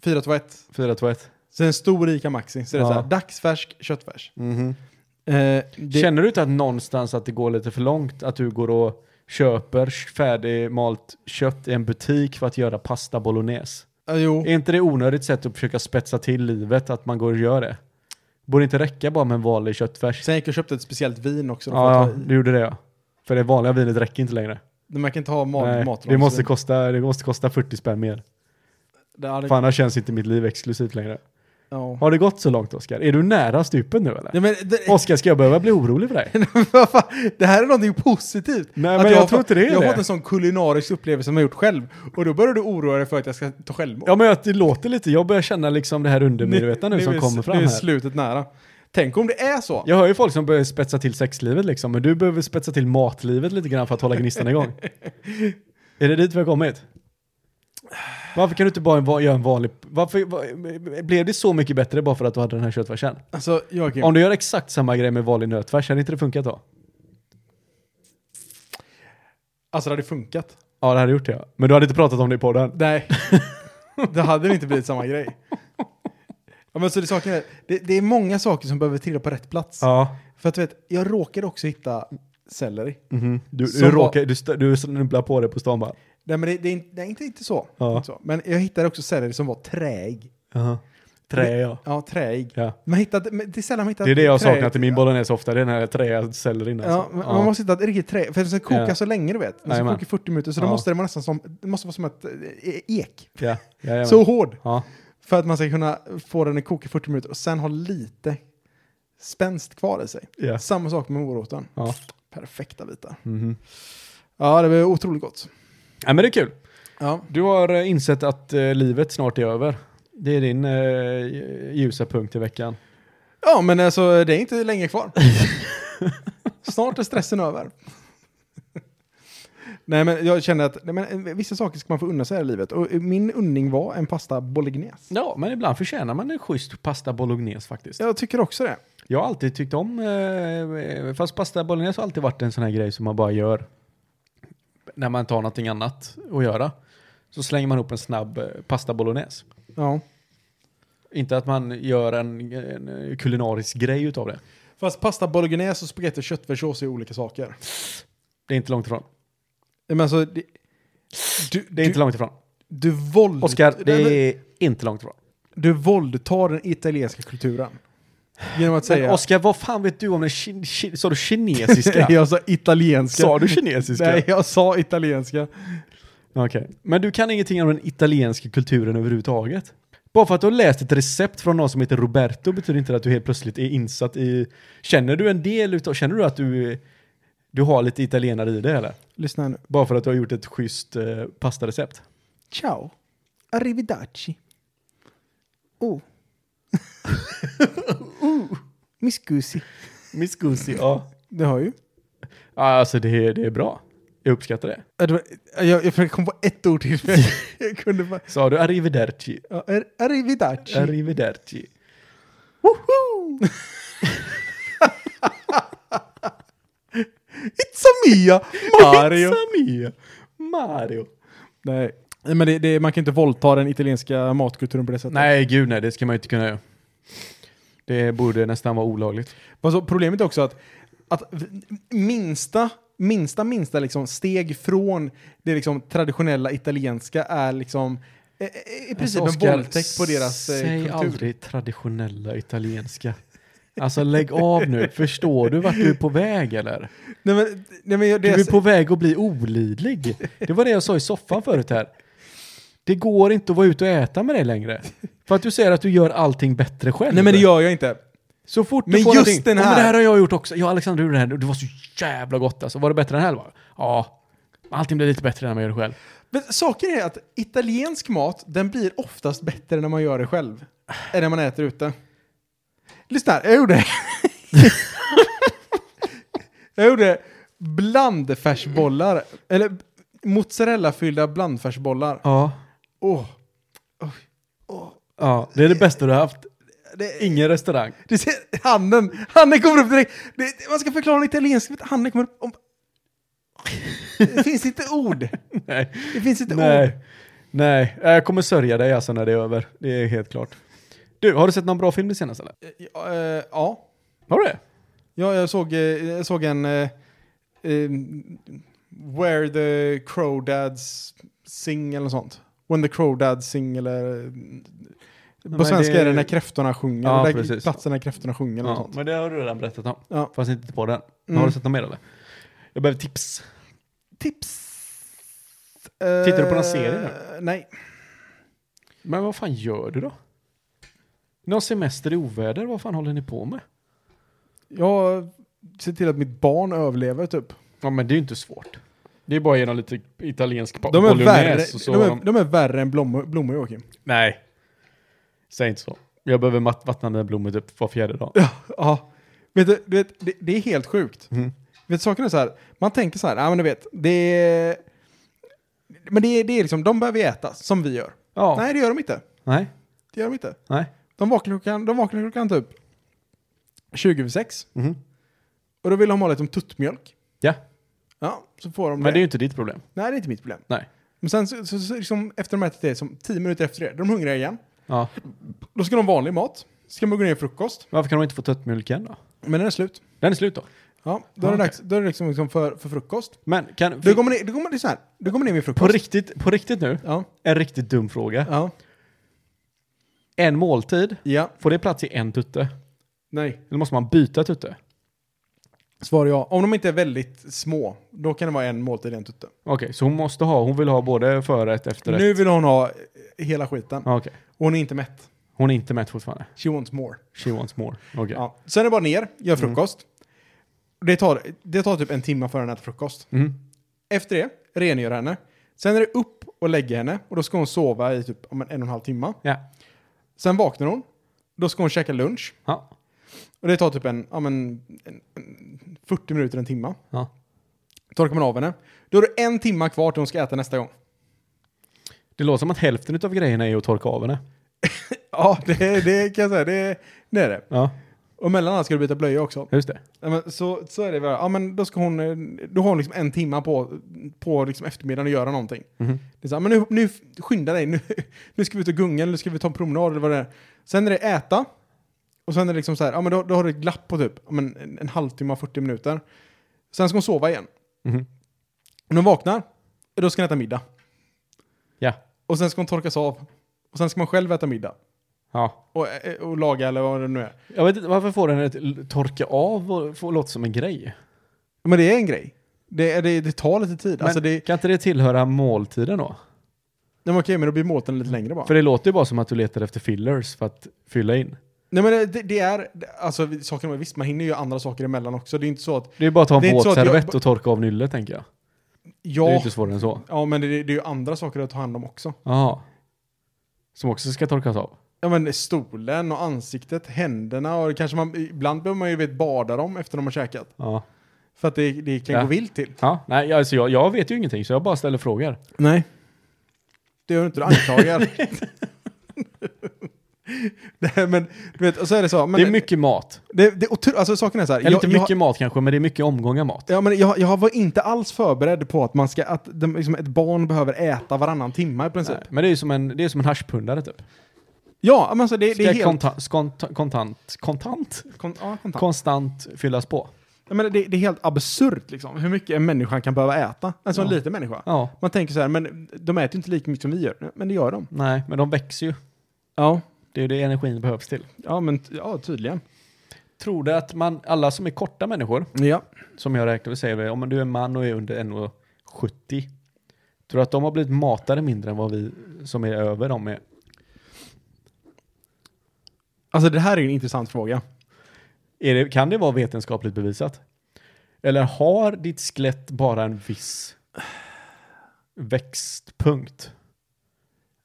A: 4 1.
C: 4 2 1.
A: Sen en stor Ica Maxi, så det är så här,
C: Ja.
A: dagsfärsk köttfärs.
C: Mhm.
A: Eh, det,
C: Känner du inte att någonstans att det går lite för långt? Att du går och köper färdigmalt kött i en butik för att göra pasta bolognese?
A: Ja, jo.
C: Är inte det onödigt sätt att försöka spetsa till livet, att man går och gör det? Borde inte räcka bara med en vanlig köttfärs?
A: Sen gick jag och köpte ett speciellt vin också.
C: Ja,
A: Ja,
C: ja, du gjorde det ja. För det vanliga vinet räcker inte längre.
A: Man kan inte ha mald
C: Nej,
A: mat. alltså.
C: det, måste kosta, det måste kosta 40 spänn mer.
A: Ja, det-
C: För annars känns inte mitt liv exklusivt längre.
A: ja.
C: Har det gått så långt Oskar? Är du nära stupet nu eller?
A: Ja, men, det,
C: Oskar, ska jag behöva bli orolig för dig?
A: Vad fan, det här är någonting positivt.
C: Nej,
A: Att
C: men jag
A: har
C: tror
A: fått-
C: inte det är
A: Jag har
C: det.
A: fått en sån kulinarisk upplevelse som jag gjort själv. Och då börjar du oroa dig för att jag ska ta självmord.
C: Ja men jag- det låter lite, jag börjar känna liksom det här undermedvetna nu som
A: är-
C: kommer fram
A: Nu är
C: här.
A: slutet nära. Tänk om det är så.
C: Jag hör ju folk som börjar spetsa till sexlivet liksom, men du behöver spetsa till matlivet lite grann för att hålla gnistan igång. Är det dit vi har kommit? Varför kan du inte bara va- göra en vanlig... Varför, va- blev det så mycket bättre bara för att du hade den här köttfärsen?
A: Alltså, Joakim.
C: Om du gör exakt samma grej med vanlig nötfärs, hade inte det funkat då?
A: Alltså, det hade funkat.
C: Ja, det hade gjort det ja. Men du hade inte pratat om det i podden?
A: Nej. det hade väl inte blivit samma grej. Ja, men så det, saken är, det, det är många saker som behöver trilla på rätt plats.
C: Ja.
A: För att du vet, jag råkade också hitta selleri.
C: Du,
A: Som
C: du,
A: var-
C: råkar, du, stö- du snubblar på det på stan bara.
A: Nej, men det, det är inte, det är inte, inte, så.
C: Ja.
A: inte så. Men jag hittade också selleri som var träig.
C: Trä ja.
A: Ja, träig.
C: ja.
A: Man hittat, men det är sällan man hittat
C: Det är det jag
A: trä-
C: saknar till min bolognese ofta, det är den här träcellerin alltså.
A: Ja, men Man måste hitta ett riktigt trä, för den ska koka
C: Ja.
A: så länge du vet. Den ska
C: Jajamän.
A: koka i 40 minuter, så då
C: Ja.
A: måste det vara nästan som, det måste vara som ett eh, ek.
C: ja. jajamän.
A: Så hård.
C: Ja.
A: För att man ska kunna få den att koka i 40 minuter och sen ha lite spänst kvar i sig.
C: Ja.
A: Samma sak med moroten.
C: Ja.
A: Perfekta bitar.
C: Mhm.
A: Ja, det blir otroligt gott.
C: ja, men det är kul.
A: Ja.
C: Du har eh, insett att eh, livet snart är över. Det är din eh, ljusa punkt i veckan.
A: ja, men alltså det är inte länge kvar. Snart är stressen över. Nej, men jag känner att nej, men, eh, vissa saker ska man få unna sig här i livet. Och eh, min unning var en pasta bolognese.
C: Ja, men ibland förtjänar man en schysst pasta bolognese faktiskt.
A: Jag tycker också det.
C: Jag har alltid tyckt om, eh, fast pasta bolognese har alltid varit en sån här grej som man bara gör när man tar någonting annat att göra. Så slänger man upp en snabb eh, pasta bolognese.
A: Ja.
C: Inte att man gör en, en kulinarisk grej utav det.
A: Fast pasta bolognese och spagetti och köttfärssås är olika saker.
C: Det är inte långt ifrån.
A: Men alltså, det, du,
C: Det är inte
A: du,
C: långt ifrån.
A: du, våld,
C: Oskar,
A: Nej, men
C: det är inte långt ifrån.
A: du våldtar den italienska kulturen. Genom att säga...
C: Men Oskar, vad fan vet du om den kin- kin- sa du kinesiska?
A: jag sa italienska.
C: Sa du kinesiska?
A: Nej, jag sa italienska.
C: Okej. Men du kan ingenting om den italienska kulturen överhuvudtaget? Bara för att du har läst ett recept från någon som heter Roberto betyder inte det att du helt plötsligt är insatt i... Känner du en del utav... Känner du att du, du har lite italienare i dig eller?
A: Lyssna här nu.
C: Bara för att du har gjort ett schysst eh, pastarecept.
A: Ciao. Arrivederci. Oh. uh. Mi scusi.
C: Miss Gussi, ja.
A: Det har ju.
C: Ja, Alltså det är, det är bra. Jag uppskattar det.
A: Ja, det var- Jag, jag försökte komma på ett ord till. men jag kunde bara...
C: Sa du arrivederci?
A: Ja, ar- Arrivederci.
C: Arrivederci.
A: Woho! It's a Mia! Mario!
C: Samia. Mario.
A: Nej, men det, det, man kan inte våldta den italienska matkulturen på det sättet.
C: Nej, gud nej, det ska man ju inte kunna göra. Det borde nästan vara olagligt.
A: Men så problemet är också att, att v- minsta, minsta, minsta liksom steg från det liksom traditionella italienska är liksom eh, eh, i princip en våldtäkt på deras eh,
C: Alltså, Säg
A: kultur.
C: aldrig traditionella italienska. Alltså lägg av nu, förstår du vart du är på väg eller?
A: Nej, men, nej, men jag-
C: Du
A: det,
C: är på väg att bli olidlig. Det var det jag sa i soffan förut här. Det går inte att vara ute och äta med dig längre. För att du säger att du gör allting bättre själv.
A: nej men det gör jag inte.
C: Så fort du
A: Men
C: får
A: just
C: någonting-
A: den
C: Ja, men
A: här.
C: det här har jag gjort också. Jag och Alexander gjorde den här. Det var så jävla gott alltså. Var det bättre än den här? va? Ja. Allting blir lite bättre när man gör det själv.
A: Men saken är att italiensk mat, den blir oftast bättre när man gör det själv. Än när man äter ute. Lyssna här, jag gjorde... jag gjorde blandfärsbollar, eller mozzarellafyllda blandfärsbollar.
C: Ja.
A: Åh,
C: Ja, det är det bästa du har haft.
A: det,
C: Ingen restaurang.
A: du ser, handen, handen kommer upp direkt. Det, det- man ska förklara en italiensk, vet du, handen kommer upp. Om, det finns inte ord.
C: Nej.
A: Det oh. finns inte ord.
C: Nej. Nej, jag kommer sörja dig alltså när det är över. Det är helt klart. Du, har du sett någon bra film det senaste eller?
A: Ja, eh, ja.
C: Har du det?
A: Ja, jag såg, eh, jag såg en eh, eh, Where the Crowdads Sing eller något sånt. When the Crowdads Sing eller... eh, På
C: men
A: svenska
C: det-
A: är det när kräftorna sjunger.
C: Ja,
A: där
C: precis.
A: Platsen när kräftorna sjunger eller något sånt.
C: men det har du redan berättat om.
A: Ja.
C: Fast inte på den.
A: Mm.
C: Har du sett någon mer eller? Jag behöver tips.
A: Tips!
C: Tittar du på någon serie
A: nu? Eh, Nej.
C: Men vad fan gör du då? Någon semester i oväder, vad fan håller ni på med?
A: Jag ser till att mitt barn överlever typ.
C: Ja men det är ju inte svårt. Det är bara genom lite italiensk pa-
A: De är, värre,
C: bolognese och så.
A: de är, de är värre än blommor, blommor Joakim.
C: Nej. Säg inte så. Jag behöver mat- vattna mina blommor typ var fjärde dag.
A: Ja, vet du, du vet, det, det är helt sjukt.
C: Mm.
A: Vet du, saken är så här, man tänker så här, ja men du vet, det är... Men det är, det är liksom, de behöver äta som vi gör.
C: Ja.
A: Nej, det gör de inte.
C: Nej.
A: Det gör de inte.
C: Nej.
A: De vaknar klockan, de vaknar klockan typ 20 över sex.
C: Mhm.
A: Och då vill de ha lite om tuttmjölk.
C: Ja.
A: Ja, så får de
C: Men det är ju inte ditt problem.
A: Nej, det är inte mitt problem.
C: Nej.
A: Men sen så, så, så liksom, efter de ätit det, som tio minuter efter det, då är de hungriga igen.
C: Ja.
A: Då ska de ha vanlig mat. Ska man gå ner i frukost.
C: Varför kan de inte få töttmjölken då?
A: Men den är slut.
C: Den är slut då.
A: Ja, då är det,
C: Ja, okej.
A: dags, då är det liksom, liksom för, för frukost.
C: Men kan...
A: Du kommer ner, du kommer, det är så här, du kommer ner med
C: på,
A: frukost.
C: riktigt, på riktigt nu,
A: Ja,
C: en riktigt dum fråga.
A: ja,
C: En måltid,
A: ja,
C: får det plats i en tutte?
A: nej.
C: Eller måste man byta tutte?
A: Svar ja. Om de inte är väldigt små, då kan det vara en måltid i en tutte.
C: Okej, så hon måste ha, hon vill ha både förrätt, efterrätt?
A: Nu vill hon ha eh, hela skiten.
C: Ja, Okej.
A: Och hon är inte mätt.
C: Hon är inte mätt fortfarande.
A: She wants more.
C: She wants more. Okej.
A: Ja. Mm. Sen är det bara ner, gör frukost. Det, tar, det tar typ en timme för henne att äta frukost.
C: Mm.
A: Efter det, rengör henne. Sen är det upp och lägga henne och då ska hon sova i typ om en, en och en halv timme.
C: Ja.
A: Sen vaknar hon. Då ska hon käka lunch.
C: Ja.
A: Och det tar typ en, ja, men, en, en 40 minuter, en timme.
C: ja.
A: Torkar man av henne. Då är det en timme kvar till hon ska äta nästa gång.
C: Det låter som att hälften av grejerna är att torka av henne.
A: Ja, det, det kan jag säga. Det, det är det.
C: Ja,
A: Och mellan allt ska du byta blöja också.
C: just det.
A: Ja, men så, så är det väl. Ja, men då ska hon... eh, Då har hon liksom en timme på, på liksom eftermiddagen att göra någonting.
C: Mhm.
A: Det är så här, men nu, nu skynda dig. Nu, nu ska vi ut och gunga, eller nu ska vi ta en promenad eller vad det är. Sen är det äta. Och sen är det liksom så här, ja men då, då har du ett glapp på typ ja, men en, en halvtimme, 40 minuter. Sen ska hon sova igen.
C: Mhm.
A: När hon vaknar, då ska hon äta middag.
C: Ja.
A: Och sen ska hon torkas av. Och sen ska man själv äta middag.
C: ja.
A: Och, eh, och laga eller vad det nu är.
C: Jag vet inte, varför får den ett l- torka av och får låta som en grej?
A: Men det är en grej. Det, är- det, det tar lite tid.
C: Men
A: Alltså det,
C: Kan inte det tillhöra måltiden då?
A: Nej, men okej, men då blir måten lite längre bara.
C: För det låter ju bara som att du letar efter fillers för att fylla in.
A: Nej, men det, det är, alltså vi- saken var visst, man hinner ju andra saker emellan också. Det är inte så att,
C: Det är bara att ta
A: Det är
C: en
A: inte så att jag-
C: våtservett och torka av nyllet tänker jag. Det är ju
A: ja,
C: inte svårare än så.
A: ja men det, det är ju andra saker att ta hand om också.
C: Jaha. Som också ska torkas av.
A: Ja men stolen och ansiktet, händerna och kanske man, ibland behöver man ju vet bada dem efter de har käkat.
C: Ja.
A: För att det, det kan
C: Ja.
A: gå vilt till.
C: ja nej, alltså jag, jag vet ju ingenting så jag bara ställer frågor.
A: Nej. Det gör du inte, du anklagar. Nej men, du vet, och så är det så. Men
C: det är mycket mat.
A: Det, det, är otro- alltså saken är så här.
C: Eller
A: jag-
C: inte
A: jag-
C: mycket mat kanske, men det är mycket omgångar mat.
A: Ja, men jag, jag var inte alls förberedd på att, man ska, att de, liksom ett barn behöver äta varannan timme i princip.
C: Nej, men det är ju som en, det är som en haschpundare typ.
A: Ja, men alltså det,
C: Ska
A: det är helt...
C: konta, skont, kontant, kontant,
A: Kon, ja, kontant.
C: konstant fyllas på.
A: jag menar, det, det är helt absurt liksom, hur mycket en människa kan behöva äta. Alltså en
C: Ja.
A: liten människa.
C: Ja,
A: Man tänker så här, men de äter ju inte lika mycket som vi gör. Men det gör de.
C: nej, men de växer ju.
A: Ja,
C: Det är ju det energin behövs till.
A: ja men t- ja, tydligen.
C: Tror du att man, alla som är korta människor,
A: Ja.
C: som jag räknar med, säger det, om du är en man och är under 1,70, tror du att de har blivit matade mindre än vad vi som är över dem är?
A: Alltså det här är ju en intressant fråga.
C: är det, kan det vara vetenskapligt bevisat? Eller har ditt skelett bara en viss växtpunkt?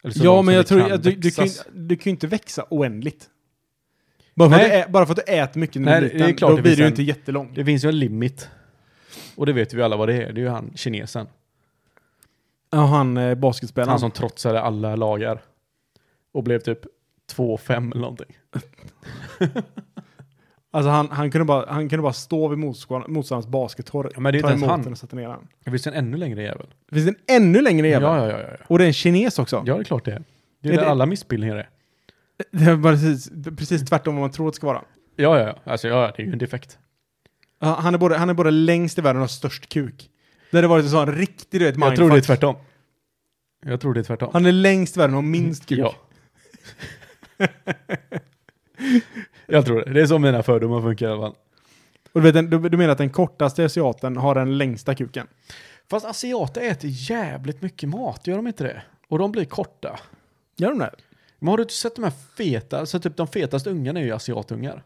C: Eller så
A: ja,
C: långt
A: men
C: som
A: jag
C: det
A: tror
C: kan
A: att du, du, kan, ju-
C: växas?
A: du kan ju inte växa oändligt. Bara för, att
C: Nej.
A: du, ä, bara för att du äter mycket när
C: Nej,
A: du
C: det
A: är
C: är
A: liten,
C: klart
A: då
C: det
A: blir
C: finns
A: du ju
C: en-
A: inte jättelång.
C: Det finns ju en limit. Och det vet vi alla vad det är. Det är ju han, kinesen.
A: Ja, han eh, basketspelaren.
C: Han som trotsade alla lagar. Och blev typ 2,5 eller någonting.
A: Alltså han, han, kunde bara, han kunde bara stå vid motstånd- motståndarens baskettorg,
C: Ja, men det är
A: ta
C: inte ens
A: emot
C: han.
A: den och sätta ner den.
C: Det finns en ännu längre jävel.
A: Det finns en ännu längre jävel.
C: Ja, ja, ja, ja, ja.
A: Och det är en kines också.
C: Ja, det är klart det är. Det är,
A: Är
C: där
A: det-
C: alla missbildningar är.
A: Det är bara precis, precis tvärtom vad man tror att det ska vara.
C: Ja, ja, ja. Alltså, ja, det är ju en defekt.
A: Ja, Han är både, han är både längst i världen och har störst kuk. Det hade varit en sån riktig, du vet,
C: Jag tror det är
A: mindfuck.
C: tvärtom. Jag tror det är tvärtom.
A: Han är längst i världen och har minst kuk.
C: Ja. jag tror det. Det är så mina fördomar funkar i alla fall.
A: Och du, vet, den- du, du menar att den kortaste asiaten har den längsta kuken?
C: Fast asiater äter jävligt mycket mat, gör de inte det? Och de blir korta.
A: Gör de det?
C: Men har du inte sett de här feta, alltså typ de fetaste ungarna är ju asiatungar.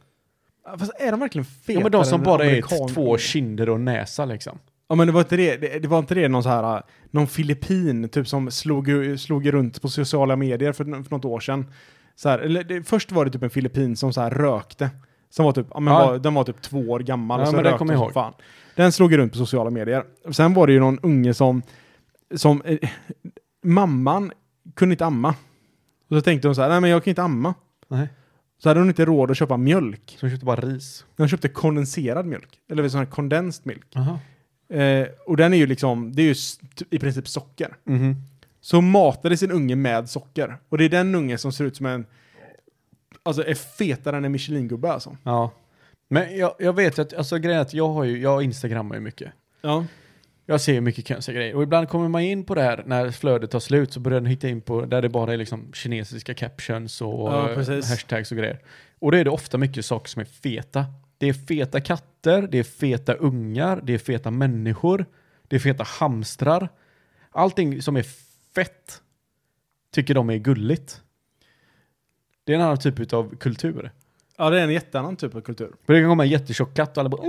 A: Fast är de verkligen fetare?
C: Ja men de
A: än
C: som bara är
A: amerikan-
C: t- två kinder och näsa liksom.
A: Ja men det var inte det, det, det, var inte det någon så här, äh, någon filippin typ som slog, slog runt på sociala medier för, n- för något år sedan. Så här, eller det, först var det typ en filippin som så här rökte. Som var typ, ja, men
C: Ja.
A: var, den var typ två år gammal.
C: Ja,
A: så
C: men den
A: rökte
C: kommer jag
A: hon
C: ihåg.
A: som Fan. Den slog ju runt på sociala medier. Sen var det ju någon unge som, som eh, mamman kunde inte amma. Och så tänkte hon så här, nej men jag kan inte amma.
C: Nej.
A: Så hade hon inte råd att köpa mjölk.
C: Som köpte bara ris.
A: Hon köpte kondenserad mjölk. Eller sån här kondensed milk.
C: Aha.
A: Eh, och den är ju liksom, det är ju s- t- i princip socker.
C: Mhm.
A: Så matade sin unge med socker. Och det är den ungen som ser ut som en, alltså är fetare än en Michelin-gubbe alltså.
C: Ja. Men jag, jag vet att, alltså grejen är att jag har ju, jag instagrammar ju mycket.
A: Ja.
C: Jag ser ju mycket konstiga grejer. Och ibland kommer man in på det här när flödet tar slut så börjar den hitta in på där det bara är liksom kinesiska captions och
A: Ja,
C: eh,
A: precis.
C: hashtags och grejer. Och då är det ofta mycket saker som är feta. Det är feta katter, det är feta ungar, det är feta människor, det är feta hamstrar. Allting som är fett tycker de är gulligt. Det är en annan typ av kultur.
A: Ja, det är en jätteannan typ av kultur.
C: För det kan komma en jättetjock katt och alla bara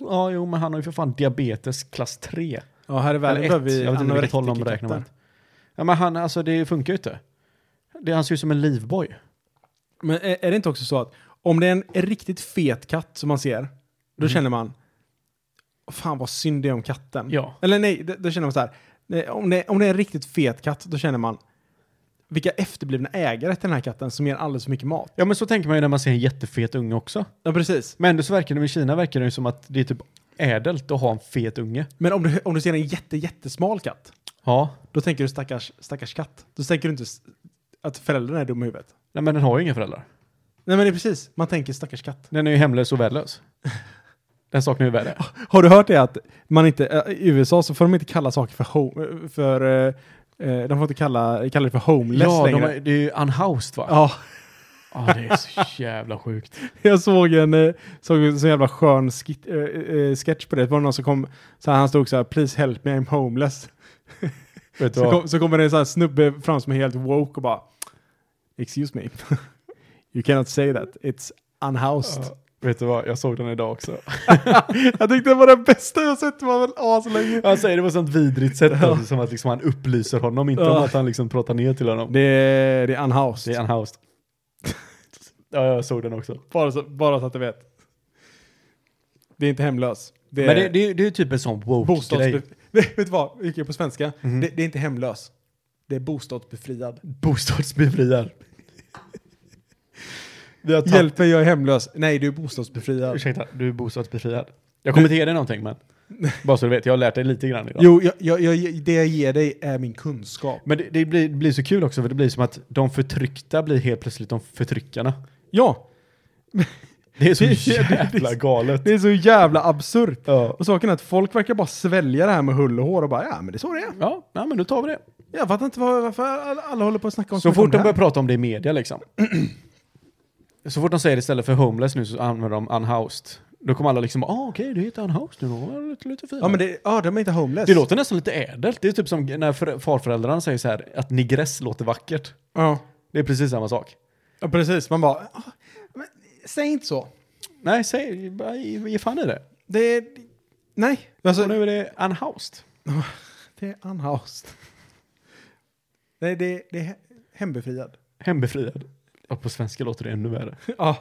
C: ja, jo, men han har ju för fan diabetes klass 3.
A: Ja, här i världen
C: Eller ett.
A: behöver vi
C: Jag vet inte vilket håll de räknar med.
A: anorektikatter.
C: Ja, men han, alltså det funkar ju inte. Det, han ser ut som en livboj.
A: Men är, är det inte också så att om det är en riktigt fet katt som man ser, då känner man, fan vad synd det är om katten.
C: Ja.
A: Eller nej, d- då känner man så här, nej, om det, om det är en riktigt fet katt, då känner man, vilka efterblivna ägare till den här katten som ger alldeles för mycket mat.
C: Ja, men så tänker man ju när man ser en jättefet unge också.
A: Ja, precis.
C: Men ändå så verkar det i Kina verkar det ju som att det är typ ädelt att ha en fet unge.
A: Men om du, om du ser en jätte, jättesmal katt,
C: Ja.
A: då tänker du stackars, stackars katt. Då tänker du inte s- att föräldrarna är dumma i huvudet.
C: Nej, men den har ju inga föräldrar.
A: Nej, men det är precis. Man tänker stackars katt.
C: Den är ju hemlös och värdelös. Den saknar ju värde.
A: Har du hört det att man inte, eh, i USA så får de inte kalla saker för home, för, eh, eh, de får inte kalla, kalla det för homeless
C: Ja, de
A: längre.
C: är, det är ju unhoused va?
A: Ja,
C: Ja, det är så jävla sjukt.
A: jag såg en, eh, såg en så jävla skön skit, eh, eh, sketch på det. Det var någon som kom, så här, han stod så här, please help me, I'm homeless.
C: Vet du
A: Så,
C: vad?
A: kom, så kommer det en sån här snubbe fram som är helt woke och bara Excuse me, you cannot say that, it's unhoused.
C: Ja, Vet du vad? Jag såg den idag också.
A: jag tyckte det var det bästa jag sett, det var väl aslänge.
C: Han säger det på ett sånt vidrigt sätt, alltså, som att liksom han upplyser honom, inte om
A: Ja.
C: att han liksom pratar ner till honom.
A: Det, är- det är
C: Det
A: unhoused.
C: är unhoused. ja, jag såg den också.
A: Bara, så, bara så att du vet. Det är inte hemlös. Det är
C: Men det, det, det är typ en sån woke-grej.
A: bostadsbefriad. Vet du vad, vi gick ju på svenska. Det, det är inte hemlös. Det är bostadsbefriad.
C: Bostadsbefriad. Vi har tappat...
A: Hjälp mig, jag är hemlös. Nej, du är bostadsbefriad.
C: Ursäkta, du är bostadsbefriad. Jag kommer inte ge dig någonting men. Bara så du vet, jag har lärt dig lite grann idag.
A: Jo, jag, jag, jag, det jag ger dig är min kunskap.
C: Men det, det, blir, det blir så kul också för det blir som att de förtryckta blir helt plötsligt de förtryckarna.
A: Ja,
C: Det är så
A: Det är- det är-
C: jävla galet.
A: det är så jävla absurt.
C: Ja.
A: Och saken är att folk verkar bara svälja det här med hull och hår och bara ja, men det är så det är.
C: Ja, ja, men då tar vi det.
A: Jag fattar inte var- varför alla, alla håller på att snacka om
C: Så
A: som om
C: fort
A: det
C: de
A: här.
C: börjar prata om det i media liksom. så fort de säger det istället för homeless nu så använder de unhoused. Då kommer alla liksom, ah okej, det heter unhoused nu, då. lite, lite fint.
A: Ja, men det, ja, de är inte homeless.
C: Det låter nästan lite ädelt. Det är typ som när för- farföräldrarna säger så här, att negress låter vackert.
A: Ja.
C: Det är precis samma sak.
A: ja, precis. Man bara, "Ah, men, säg inte så.
C: Nej, säg, bara ge ge fan i det.
A: Det är, nej. Alltså,
C: Och nu är det unhoused.
A: det är unhoused. Nej, det, det är he- hembefriad.
C: Hembefriad. Och på svenska låter det ännu värre.
A: ja.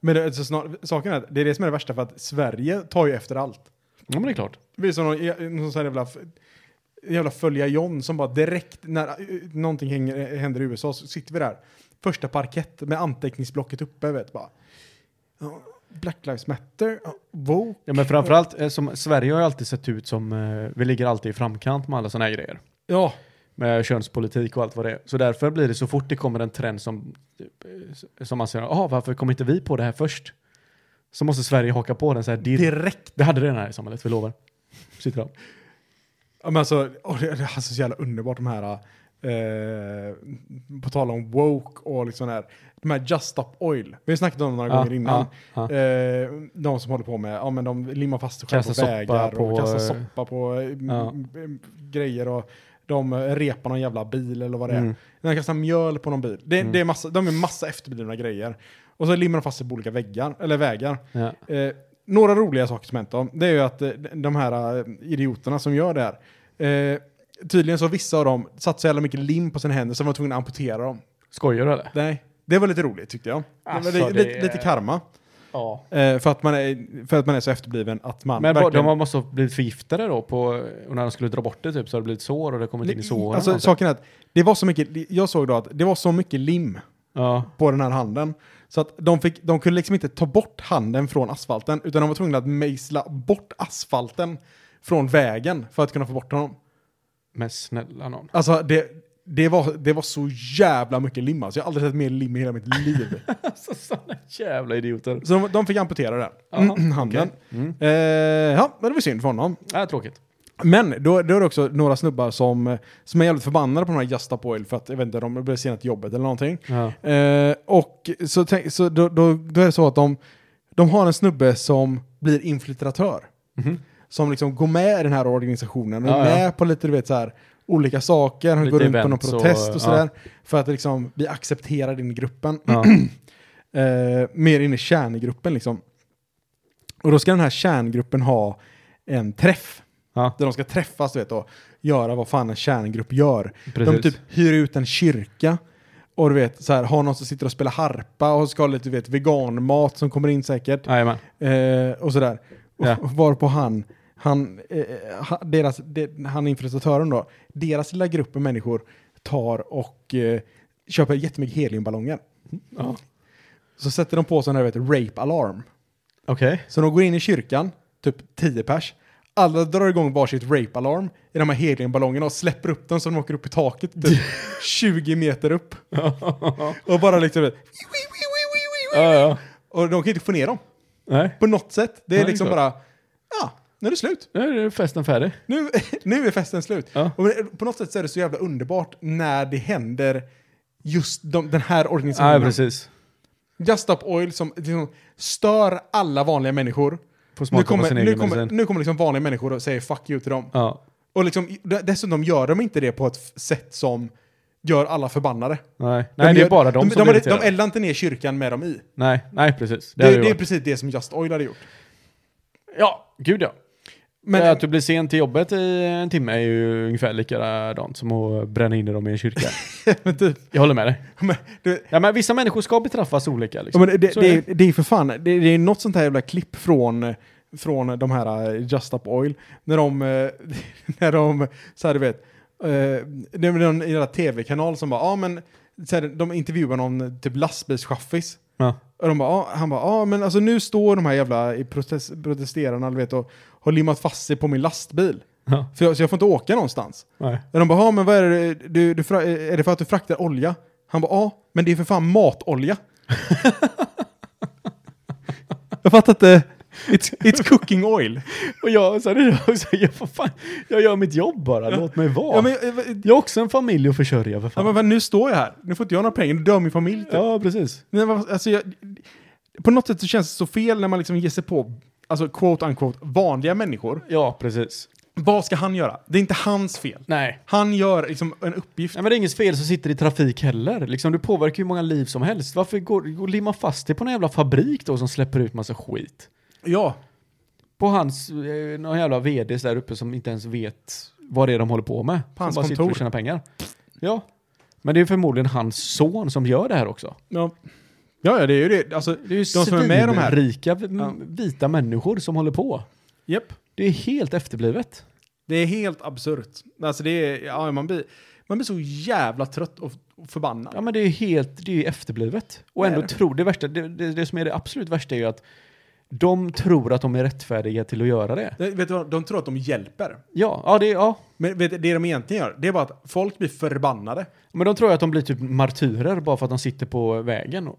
A: Men det, så snar, saken är att det är det som är det värsta för att Sverige tar ju efter allt.
C: Ja, men det är klart.
A: Det är som någon, någon sån här jävla, f- jävla följa John som bara direkt när eh, någonting hänger, händer i USA så sitter vi där. Första parkett med anteckningsblocket uppe vet bara. Ja, Black Lives Matter, ja, woke.
C: Ja, men framförallt, eh, som, Sverige har ju alltid sett ut som, eh, vi ligger alltid i framkant med alla sådana här grejer.
A: Ja,
C: Med könspolitik och allt vad det är. Så därför blir det så fort det kommer en trend som, eh, som man säger, ah, varför kom inte vi på det här först? Så måste Sverige haka på den så här direkt.
A: direkt.
C: Det hade det här i samhället, vi lovar. Sitter av.
A: Ja, men alltså, åh, det, det är alltså så jävla underbart de här, eh, på tal om woke och liksom här, de här Just Stop Oil. Vi har snackat om det några
C: Ja,
A: gånger innan.
C: ja,
A: Eh, de som håller på med, ja men de limmar fast sig själva på
C: Kastar soppa
A: vägar
C: på,
A: och kastar
C: eh,
A: soppa på eh, m-
C: ja.
A: m- grejer och de eh, repar någon jävla bil eller vad det är.
C: Mm.
A: De kastar mjöl på någon bil. Det,
C: Mm.
A: det är massa, de är massa efterblivna grejer. Och så limmar de fast sig på olika väggar, eller vägar.
C: Ja.
A: Eh, några roliga saker som hänt dem, det är ju att eh, de här eh, idioterna som gör det här, eh, tydligen så har vissa av dem satt så jävla mycket lim på sina händer så de var tvungna att amputera dem.
C: Skojar du eller?
A: Nej, det var lite roligt tyckte jag.
C: Alltså,
A: det var li-
C: det
A: lite, lite
C: är-
A: karma.
C: Ja.
A: Eh, för, att man är, för att man är så efterbliven att man...
C: Men vad-
A: verkligen-
C: de har måste ha blivit förgiftade då, på, och när de skulle dra bort det typ så har det blivit sår och det har kommit in i såren.
A: alltså,
C: och så.
A: saken är att det var så mycket, jag såg då att det var så mycket lim
C: ja.
A: på den här handen så att de, fick, de kunde liksom inte ta bort handen från asfalten utan de var tvungna att mejsla bort asfalten från vägen för att kunna få bort honom.
C: Men snälla någon.
A: Alltså det, det, var, det var så jävla mycket lim alltså. Jag har aldrig sett mer lim i hela mitt liv.
C: Alltså sådana jävla idioter.
A: så de, de fick amputera den,
C: Jaha,
A: handen.
C: okej. Mm.
A: Eh, ja, men det var synd för honom.
C: Ja, tråkigt.
A: Men då, då är det också några snubbar som, som är jävligt förbannade på de här Just Up Oil för att jag vet inte, de blev sena till jobbet eller någonting.
C: Ja.
A: Eh, och så, tänk, så då, då, då är det så att de, de har en snubbe som blir infiltratör. Som liksom går med i den här organisationen och
C: Mhm. Ja,
A: är
C: ja.
A: med på lite du vet, så här, olika saker. Han
C: Lite
A: går runt på någon
C: events och-
A: protest och,
C: ja.
A: sådär. För att liksom, vi accepterar din gruppen.
C: Ja.
A: Eh, mer in i kärngruppen liksom. Och då ska den här kärngruppen ha en träff.
C: Ja.
A: Där de ska träffas du vet, och göra vad fan en kärngrupp gör.
C: Precis.
A: De typ hyr ut en kyrka. Och du vet, så här, har någon som sitter och spelar harpa och ska ha lite du vet, veganmat som kommer in säkert.
C: Jajamän.
A: Eh, och sådär.
C: Ja.
A: Och varpå han, han, eh, ha- deras, de, han infiltratören då, deras lilla grupp av människor tar och eh, köper jättemycket heliumballonger.
C: Ja.
A: Så sätter de på sån här du vet, rape alarm.
C: Okej.
A: Så de går in i kyrkan, typ 10 pers. Alla drar igång varsitt rape-alarm i de här heliumballongerna och släpper upp dem så de åker upp i taket typ 20 meter upp. Och bara liksom...
C: Ja, ja.
A: Och de kan inte få ner dem
C: Nej.
A: på något sätt. Det är
C: Nej,
A: liksom
C: klart.
A: bara... Ja, nu är det slut.
C: Nu är festen färdig.
A: Nu, nu är festen slut.
C: Ja.
A: Och eh, på något sätt så är det så jävla underbart när det händer just de, den här
C: Ja,
A: organisationen.
C: precis.
A: Just Stop Oil som liksom stör alla vanliga människor.
C: Får
A: Nu
C: smaka på
A: kommer,
C: sin
A: nu,
C: egen
A: kommer,
C: medicin.
A: nu kommer liksom vanliga människor och säger fuck you till dem.
C: Ja.
A: Och liksom, dessutom gör de inte det på ett f- sätt som gör alla förbannade.
C: Nej,
A: De
C: nej det
A: gör-
C: är bara de, som
A: de,
C: blir
A: de,
C: irriterade.
A: de eldar inte ner kyrkan med dem i.
C: Nej, nej precis.
A: Det, det,
C: hade ju
A: är
C: varit-
A: precis det som Just Oil hade gjort.
C: Ja, gud ja.
A: Men,
C: att du blir sen till jobbet i en timme är ju ungefär likadant som att bränna in dem i en kyrka.
A: men typ,
C: Jag håller med dig.
A: men, du,
C: Ja, men vissa människor ska betraffas olika.
A: Ja,
C: Liksom.
A: men det, det,
C: Så är
A: det, det är för fan, det, det är något sånt här jävla klipp från, från de här eh, Just Up Oil. När de, eh, när de så här du vet, eh, det är någon jävla tv-kanal som bara, ja men, så här, de intervjuar någon typ lastbilschaffis.
C: Ja.
A: Och de bara, ja, han bara, ja men alltså nu står de här jävla i protest, protesterarna du vet, och har limmat fast sig på min lastbil.
C: Ja.
A: För jag, så jag får inte åka någonstans.
C: Nej.
A: Och de bara, ja men vad är det, du, du, fra- är det för att du fraktar olja? Han bara, ja, men det är för fan matolja. jag fattar inte. It's, it's cooking oil.
C: Och jag så här, jag, så här, jag, får fan, jag gör mitt jobb bara, låt mig vara.
A: Ja, men, eh, va-
C: Jag har också en familj att försörja för
A: ja,
C: fan.
A: men vad, nu står jag här. Nu får inte jag några pengar. Nu dör min familj. Typ.
C: Ja, precis.
A: Nej, vad- alltså, jag, på något sätt så känns det så fel när man liksom ger sig på alltså, quote unquote vanliga människor.
C: Ja, precis.
A: Vad ska han göra? Det är inte hans fel.
C: Nej.
A: Han gör liksom en uppgift.
C: Nej, men det är inget fel som sitter i trafik heller. Liksom, du påverkar hur många liv som helst. Varför går, går limma fast dig på någon jävla fabrik då som släpper ut massa skit?
A: Ja,
C: På hans, eh, någon jävla vd där uppe som inte ens vet vad det är de håller på med.
A: På hans
C: som bara sitter
A: kontor.
C: och tjänar pengar. Ja. Men det är förmodligen hans son som gör det här också.
A: ja. Ja, ja, det är ju det. Alltså,
C: Det är ju de
A: som är med i de här.
C: rika
A: Ja.
C: vita människor som håller på.
A: japp.
C: Det är helt efterblivet.
A: Det är helt absurt. Alltså det är, ja, man, blir, man blir så jävla trött och och förbannad.
C: Ja men det är helt, det är ju efterblivet. Och
A: Det är
C: ändå
A: det.
C: tror, det värsta, det, det, det som är det absolut värsta är ju att de tror att de är rättfärdiga till att göra det.
A: Nej, Vet du vad, de tror att de hjälper.
C: Ja, ja det, ja.
A: Men vet du, det de egentligen gör, det är bara att folk blir förbannade.
C: Men de tror ju att de blir typ martyrer bara för att de sitter på vägen. Och,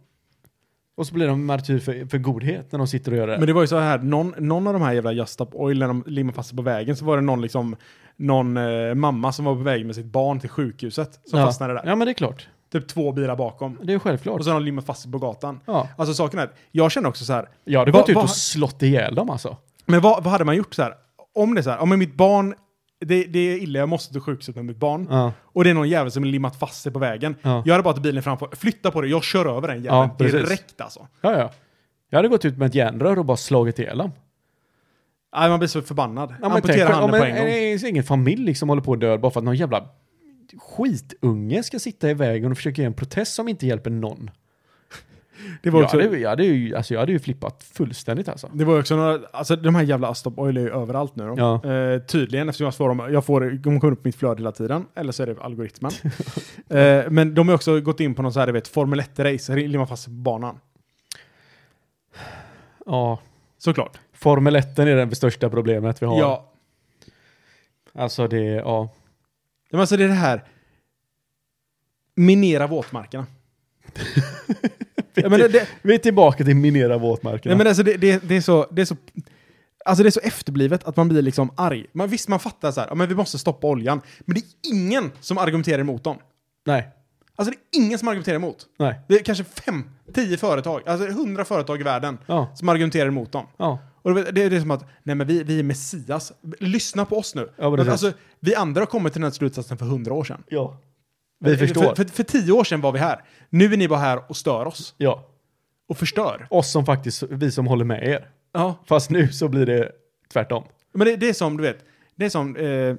C: och så blir de martyr för, för godhet när de sitter och gör det.
A: Men det var ju så här, någon, någon av de här jävla Just Up Oil, när de limmade fast sig på vägen, så var det någon, liksom, någon eh, mamma som var på väg med sitt barn till sjukhuset som
C: ja.
A: fastnade där.
C: Ja men det är klart.
A: Typ två bilar bakom.
C: Det är självklart.
A: Och så har de limmat fast sig på gatan.
C: Ja.
A: Alltså saken är, att jag känner också så här,
C: Jag hade
A: Va-
C: gått ut
A: va-
C: och slått ihjäl dem alltså.
A: Men vad, vad hade man gjort så här? Om det är så här, om mitt barn, det, det är illa, jag måste till sjukhuset med mitt barn.
C: Ja.
A: Och det är någon jävel som har limmat fast sig på vägen.
C: Ja.
A: Jag hade bara till bilen framför, flytta på det, jag kör över den jäveln
C: Ja, precis.
A: direkt alltså.
C: Ja, ja. Jag hade gått ut med ett järnrör och bara slagit ihjäl dem.
A: Nej, man blir så förbannad.
C: Ja, men
A: Amputera
C: tänk- ja,
A: handen
C: men
A: på en gång.
C: Det är ingen familj liksom håller på att dö bara för att någon jävla skitunge ska sitta i vägen och försöka göra en protest som inte hjälper någon.
A: Det var
C: Jag
A: också,
C: hade, jag, hade ju, alltså, jag hade ju flippat fullständigt alltså.
A: det var också några, alltså de här jävla Astop Oil är ju överallt nu då.
C: Ja.
A: Eh, tydligen, eftersom jag får dem, jag får, de kommer upp i mitt flöde hela tiden. Eller så är det algoritmen. eh, men de har också gått in på någon så här, du vet, Formel 1-race, limma fast sig på banan.
C: Ja.
A: Såklart.
C: Formel 1 är det största problemet vi har.
A: ja.
C: Alltså det, ja.
A: Ja, men alltså det är det här. Minera våtmarkerna. ja, men det, det,
C: Vi är tillbaka till minera våtmarkerna.
A: nej, men alltså det, det, det, är så, det är så... Alltså det är så efterblivet att man blir liksom arg. Man, visst, man fattar så här, ja, men vi måste stoppa oljan. Men det är ingen som argumenterar emot dem.
C: nej,
A: Alltså det är ingen som argumenterar emot.
C: nej.
A: Det är kanske fem, tio företag, alltså hundra företag i världen
C: Ja.
A: som argumenterar emot dem.
C: Ja.
A: Och det, det är det som att, nej men vi, vi är Messias. Lyssna på oss nu.
C: Ja, precis.
A: men alltså, vi andra har kommit till den här slutsatsen för hundra år sedan.
C: ja. Vi förstår.
A: För, för, för tio år sedan var vi här. Nu är ni bara här och stör oss.
C: ja.
A: Och förstör.
C: Oss som faktiskt, vi som håller med er.
A: Ja.
C: Fast nu så blir det tvärtom.
A: Men det, det är som, du vet, det är som, eh,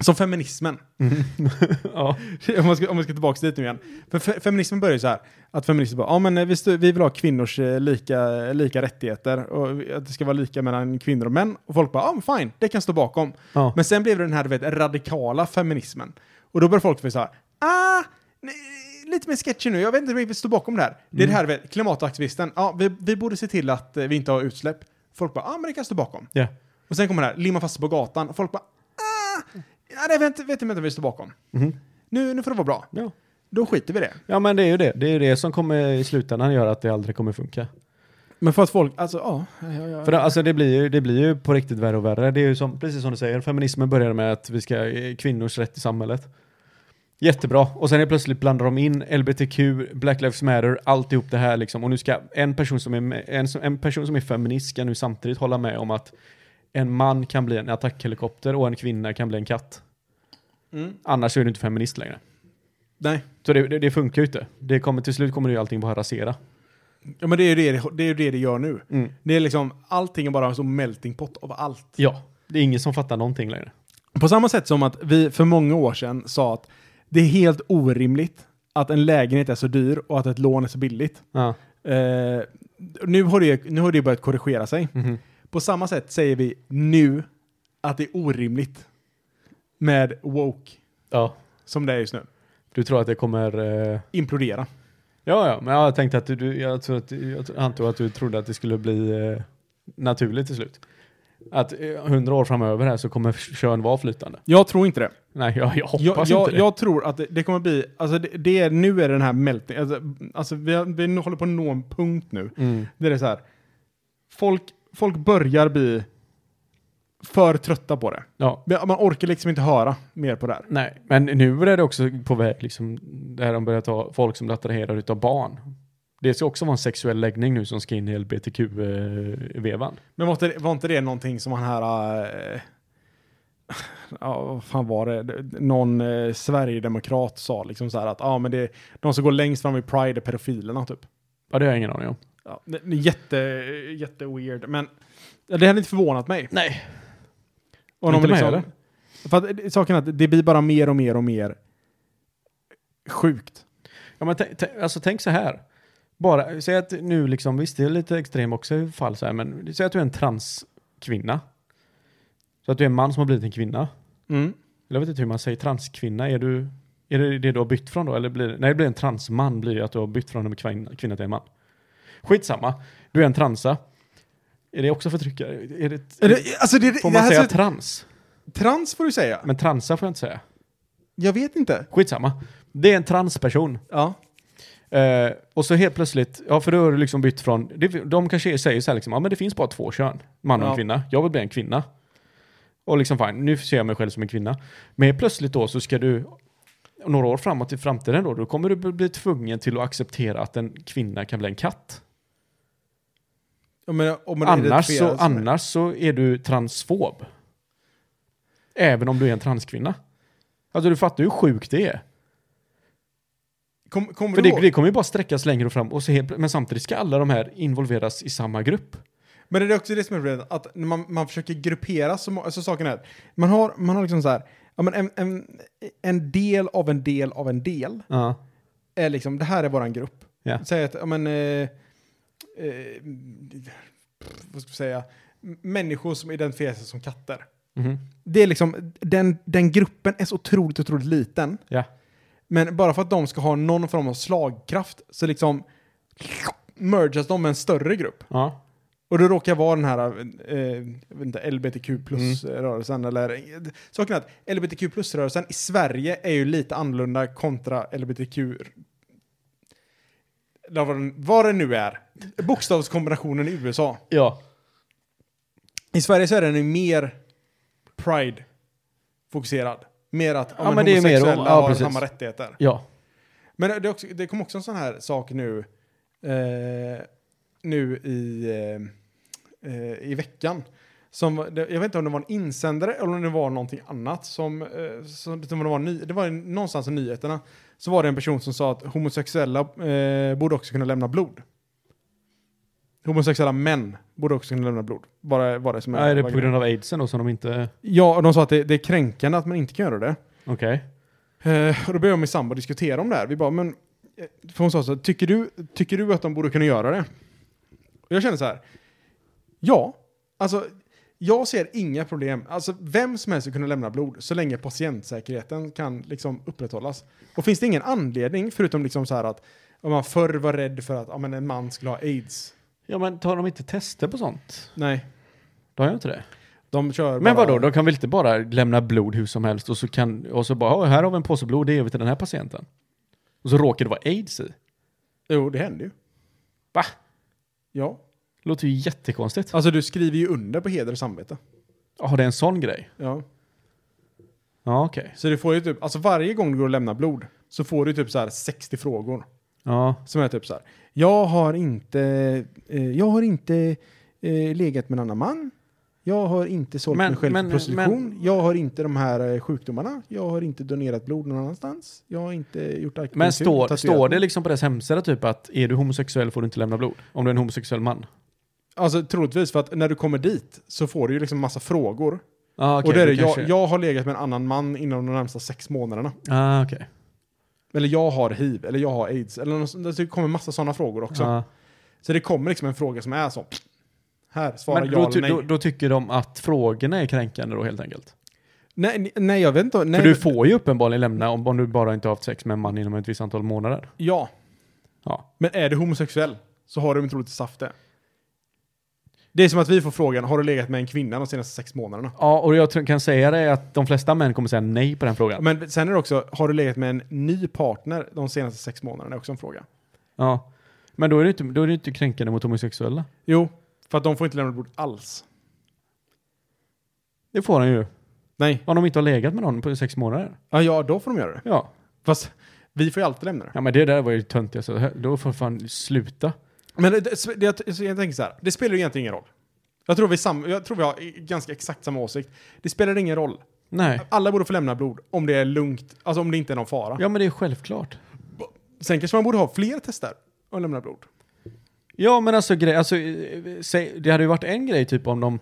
A: som feminismen.
C: Ja.
A: om, man ska, om man ska tillbaka dit nu igen. För fe, feminismen börjar ju så här, att feminister bara, ja men eh, vi, stö- vi vill ha kvinnors eh, lika, lika rättigheter och vi- att det ska vara lika mellan kvinnor och män. Och folk bara, ja men fine, det kan stå bakom.
C: Ja.
A: Men sen blev det den här, du vet, radikala feminismen. Och då börjar folk bli så här, ah, nej, lite mer sketchy nu, jag vet inte om vi står bakom det här. Det är det här, du vet, klimataktivisten, ja vi, vi borde se till att eh, vi inte har utsläpp. Folk bara, ja ah, men det kan stå bakom.
C: Ja.
A: Och sen kommer det här, limma fast sig på gatan. Och folk bara, ah, ja, det vet, vet inte om vi står bakom. Nu, nu får det vara bra.
C: ja.
A: Då skiter vi i det.
C: Ja men det är ju det. Det är ju det som kommer i slutändan göra att det aldrig kommer funka.
A: Men för att folk, alltså ja. ja, ja.
C: För det, alltså det blir, ju, det blir ju på riktigt värre och värre. Det är ju som, precis som du säger, feminismen började med att vi ska eh, kvinnors rätt i samhället. Jättebra. Och sen är det plötsligt blandar de in LBTQ, Black Lives Matter, alltihop det här liksom. Och nu ska en person som är, med- en, som- en person som är feminist ska nu samtidigt hålla med om att en man kan bli en attackhelikopter och en kvinna kan bli en katt.
A: Mm.
C: Annars är du inte feminist längre.
A: Nej,
C: Så det, det, det funkar ju inte. Det kommer, till slut kommer det ju allting bara rasera.
A: ja, men det är ju det det, är ju det det gör nu.
C: Mm.
A: Det är liksom, allting är bara en sån melting pot av allt.
C: Ja, det är ingen som fattar någonting längre.
A: På samma sätt som att vi för många år sedan sa att det är helt orimligt att en lägenhet är så dyr och att ett lån är så billigt.
C: Ja.
A: Eh, nu, har det, nu har det börjat korrigera sig.
C: Mhm.
A: På samma sätt säger vi nu att det är orimligt med woke,
C: ja.
A: som det är just nu,
C: Du tror att det kommer... Eh...
A: implodera.
C: Ja, ja, men jag tänkte att du- du, jag, tror att, jag tror- antog att du trodde att det skulle bli eh, naturligt till slut. Att eh, hundra år framöver här så kommer kön vara flytande.
A: Jag tror inte det.
C: Nej, jag, jag hoppas
A: Jag, jag,
C: inte det.
A: jag tror att det, det kommer bli, alltså det, det är, nu är den här melting, alltså, alltså vi, har, vi håller på att nå en punkt nu
C: Mm.
A: där det är så här, folk, folk börjar bli för trötta på det.
C: Ja,
A: Men Man orkar liksom inte höra mer på det här.
C: nej, men nu är det också på väg liksom där de börjar ta folk som blir attraherade utav barn. Det ska också vara en sexuell läggning nu som ska in i LBTQ-vevan.
A: Men var inte, var inte det någonting som han här... Äh, ja, vad fan var det? Någon eh, sverigedemokrat sa liksom så här att ah, men det, de som går längst fram i Pride är pedofilerna typ.
C: Ja, det har jag ingen aning om.
A: Ja, det, det är jätte, jätte weird. Men ja, det hade inte förvånat mig.
C: Nej.
A: Och
C: Inte
A: de liksom-
C: mig heller.
A: för att, det- saken är att det blir bara mer och mer och mer sjukt.
C: Ja, men tänk- tänk- alltså tänk så här. Bara, säg att nu liksom, visst det är lite extrem också i fall så här, men säg att du är en transkvinna. Så att du är en man som har blivit en kvinna.
A: Mm.
C: Eller jag vet inte hur man säger transkvinna, är du, är det det du har bytt från då? Eller blir det, nej, det blir en transman blir det att du har bytt från en kvinna, kvinna till en man. Skitsamma, du är en transa. Är det också förtryckare? Är det,
A: Är det, alltså det,
C: får
A: det
C: man
A: här
C: säga
A: ser-
C: trans?
A: trans får du säga.
C: Men transa får jag inte säga.
A: Jag vet inte.
C: Skitsamma, det är en transperson.
A: Ja.
C: Eh, och så helt plötsligt, ja för då har du liksom bytt från, det, de kanske säger så här liksom, ja men det finns bara två kön, man och en
A: Ja.
C: kvinna, jag vill bli en kvinna. Och liksom fine, nu ser jag mig själv som en kvinna. Men helt plötsligt då så ska du, några år framåt i framtiden då, då kommer du bli tvungen till att acceptera att en kvinna kan bli en katt.
A: Ja, men, om man
C: Annars så,
A: identifierar sig med-
C: annars så är du transfob. Även om du är en transkvinna. Alltså du fattar hur sjukt det är.
A: Kom, kommer
C: För
A: du
C: det,
A: ihåg?
C: det kommer ju bara sträckas längre fram, och så helt, men samtidigt ska alla de här involveras i samma grupp.
A: Men det är också det som är problemet, att när man, man försöker gruppera så må- alltså saken är att man har, man har liksom så här, ja, men en, en, en del av en del av en del
C: Ja.
A: är liksom, det här är våran grupp.
C: Ja.
A: Säg att, ja men, eh, eh, vad ska vi säga, M- människor som identifierar sig som katter.
C: Mhm.
A: Det är liksom, den, den gruppen är så otroligt, otroligt liten.
C: Ja.
A: Men bara för att de ska ha någon form av slagkraft så liksom mergas de med en större grupp.
C: ja.
A: Och det råkar vara den här eh, jag vet inte, LBTQ
C: Mm.
A: plus-rörelsen. Eller, saken är att LBTQ plus-rörelsen i Sverige är ju lite annorlunda kontra LBTQ... Eller vad, den, vad det nu är. Bokstavskombinationen i USA.
C: Ja.
A: I Sverige så är den ju mer pride-fokuserad. Mer att
C: Ja, men det är mer om-
A: homosexuella
C: ja,
A: har
C: precis.
A: samma rättigheter.
C: Ja.
A: Men det, är också, det kom också en sån här sak nu, eh, nu i, eh, eh, i veckan. Som, var- det, jag vet inte om det var en insändare eller om det var någonting annat. Som, eh, som, det, var ny, det var ju någonstans i nyheterna. Så var det en person som sa att homosexuella eh, borde också kunna lämna blod. Homosexuella män borde också kunna lämna blod. Bara, var det som
C: är det
A: var
C: på
A: grejen.
C: grund av aidsen då som de inte...
A: Ja, och de sa att det, det är kränkande att man inte kan göra det.
C: Okej.
A: Eh, och då började jag med sambo diskutera om det här. Vi bara, men... eh, För hon sa så här, tycker du, tycker du att de borde kunna göra det? Och jag kände så här, ja. Alltså, jag ser inga problem. Alltså, vem som helst ska kunna lämna blod så länge patientsäkerheten kan liksom upprätthållas. Och finns det ingen anledning, förutom liksom så här att om man förr var rädd för att ja, men en man skulle ha aids.
C: Ja men tar de inte tester på sånt?
A: Nej,
C: Då har jag inte det.
A: de kör
C: Men
A: bara-
C: vadå, då kan vi inte bara lämna blod hur som helst och så kan, och så bara, "Ja, här har vi en påse blod, det ger vi till den här patienten. Och så råkar det vara aids i.
A: Jo, det händer ju.
C: Va?
A: Ja.
C: Låter ju jättekonstigt.
A: Alltså, du skriver ju under på heder och samvete.
C: Jaha, det är en sån grej?
A: Ja.
C: Ja, okej.
A: Så du får ju typ, alltså varje gång du går och lämnar blod så får du typ så här 60 frågor.
C: Ja.
A: Som är typ så här, jag har inte, eh, jag har inte eh, legat med en annan man. Jag har inte sålt
C: Men-
A: mig själv
C: men-
A: för prostitution.
C: men-
A: jag har inte de här eh, sjukdomarna. Jag har inte donerat blod någon annanstans. Jag har inte gjort akupunktur.
C: Men står,
A: tatuerat
C: står det
A: mig.
C: liksom på deras hemsida typ att är du homosexuell får du inte lämna blod? Om du är en homosexuell man?
A: Alltså troligtvis för att när du kommer dit så får du ju liksom massa frågor.
C: Ah, okej,
A: och det är det, jag,
C: kanske-
A: jag har legat med en annan man inom de närmsta sex månaderna.
C: Ah, okej.
A: Eller jag har hiv, eller jag har aids. Eller något, sånt. det kommer massa sådana frågor också.
C: Ah.
A: Så det kommer liksom en fråga som är så. Här, svara
C: Men
A: ja
C: då,
A: eller
C: ty-
A: nej.
C: då, då tycker de att frågorna är kränkande då helt enkelt?
A: nej. Nej, jag vet inte. Nej,
C: För du får ju uppenbarligen lämna om, om du bara inte har haft sex med en man inom ett visst antal månader.
A: Ja.
C: Ja.
A: Men är du homosexuell så har du inte troligtvis haft det. Det är som att vi får frågan, har du legat med en kvinna de senaste sex månaderna?
C: Ja, och jag tror- kan säga det att de flesta män kommer säga nej på den frågan.
A: Men sen är det också, har du legat med en ny partner de senaste sex månaderna? är också en fråga.
C: Ja. Men då är det inte, då är det inte kränkande mot homosexuella.
A: Jo, för att de får inte lämna bort alls.
C: Det får han ju.
A: Nej.
C: Om de inte har legat med någon på sex månader.
A: Ja, ja, då får de göra det.
C: Ja.
A: Fast vi får ju alltid lämna det.
C: Ja men det där var ju det töntigaste. Då får fan sluta.
A: Men det, det, jag, så jag tänker så här, det spelar ju egentligen ingen roll. Jag tror, vi sam, jag tror vi har ganska exakt samma åsikt. Det spelar ingen roll.
C: Nej.
A: Alla borde få lämna blod om det är lugnt, alltså om det inte är någon fara.
C: Ja men det är självklart.
A: Sen kanske man borde ha fler tester och lämna blod.
C: Ja men alltså, grej, alltså eh, säg, det hade ju varit en grej typ om de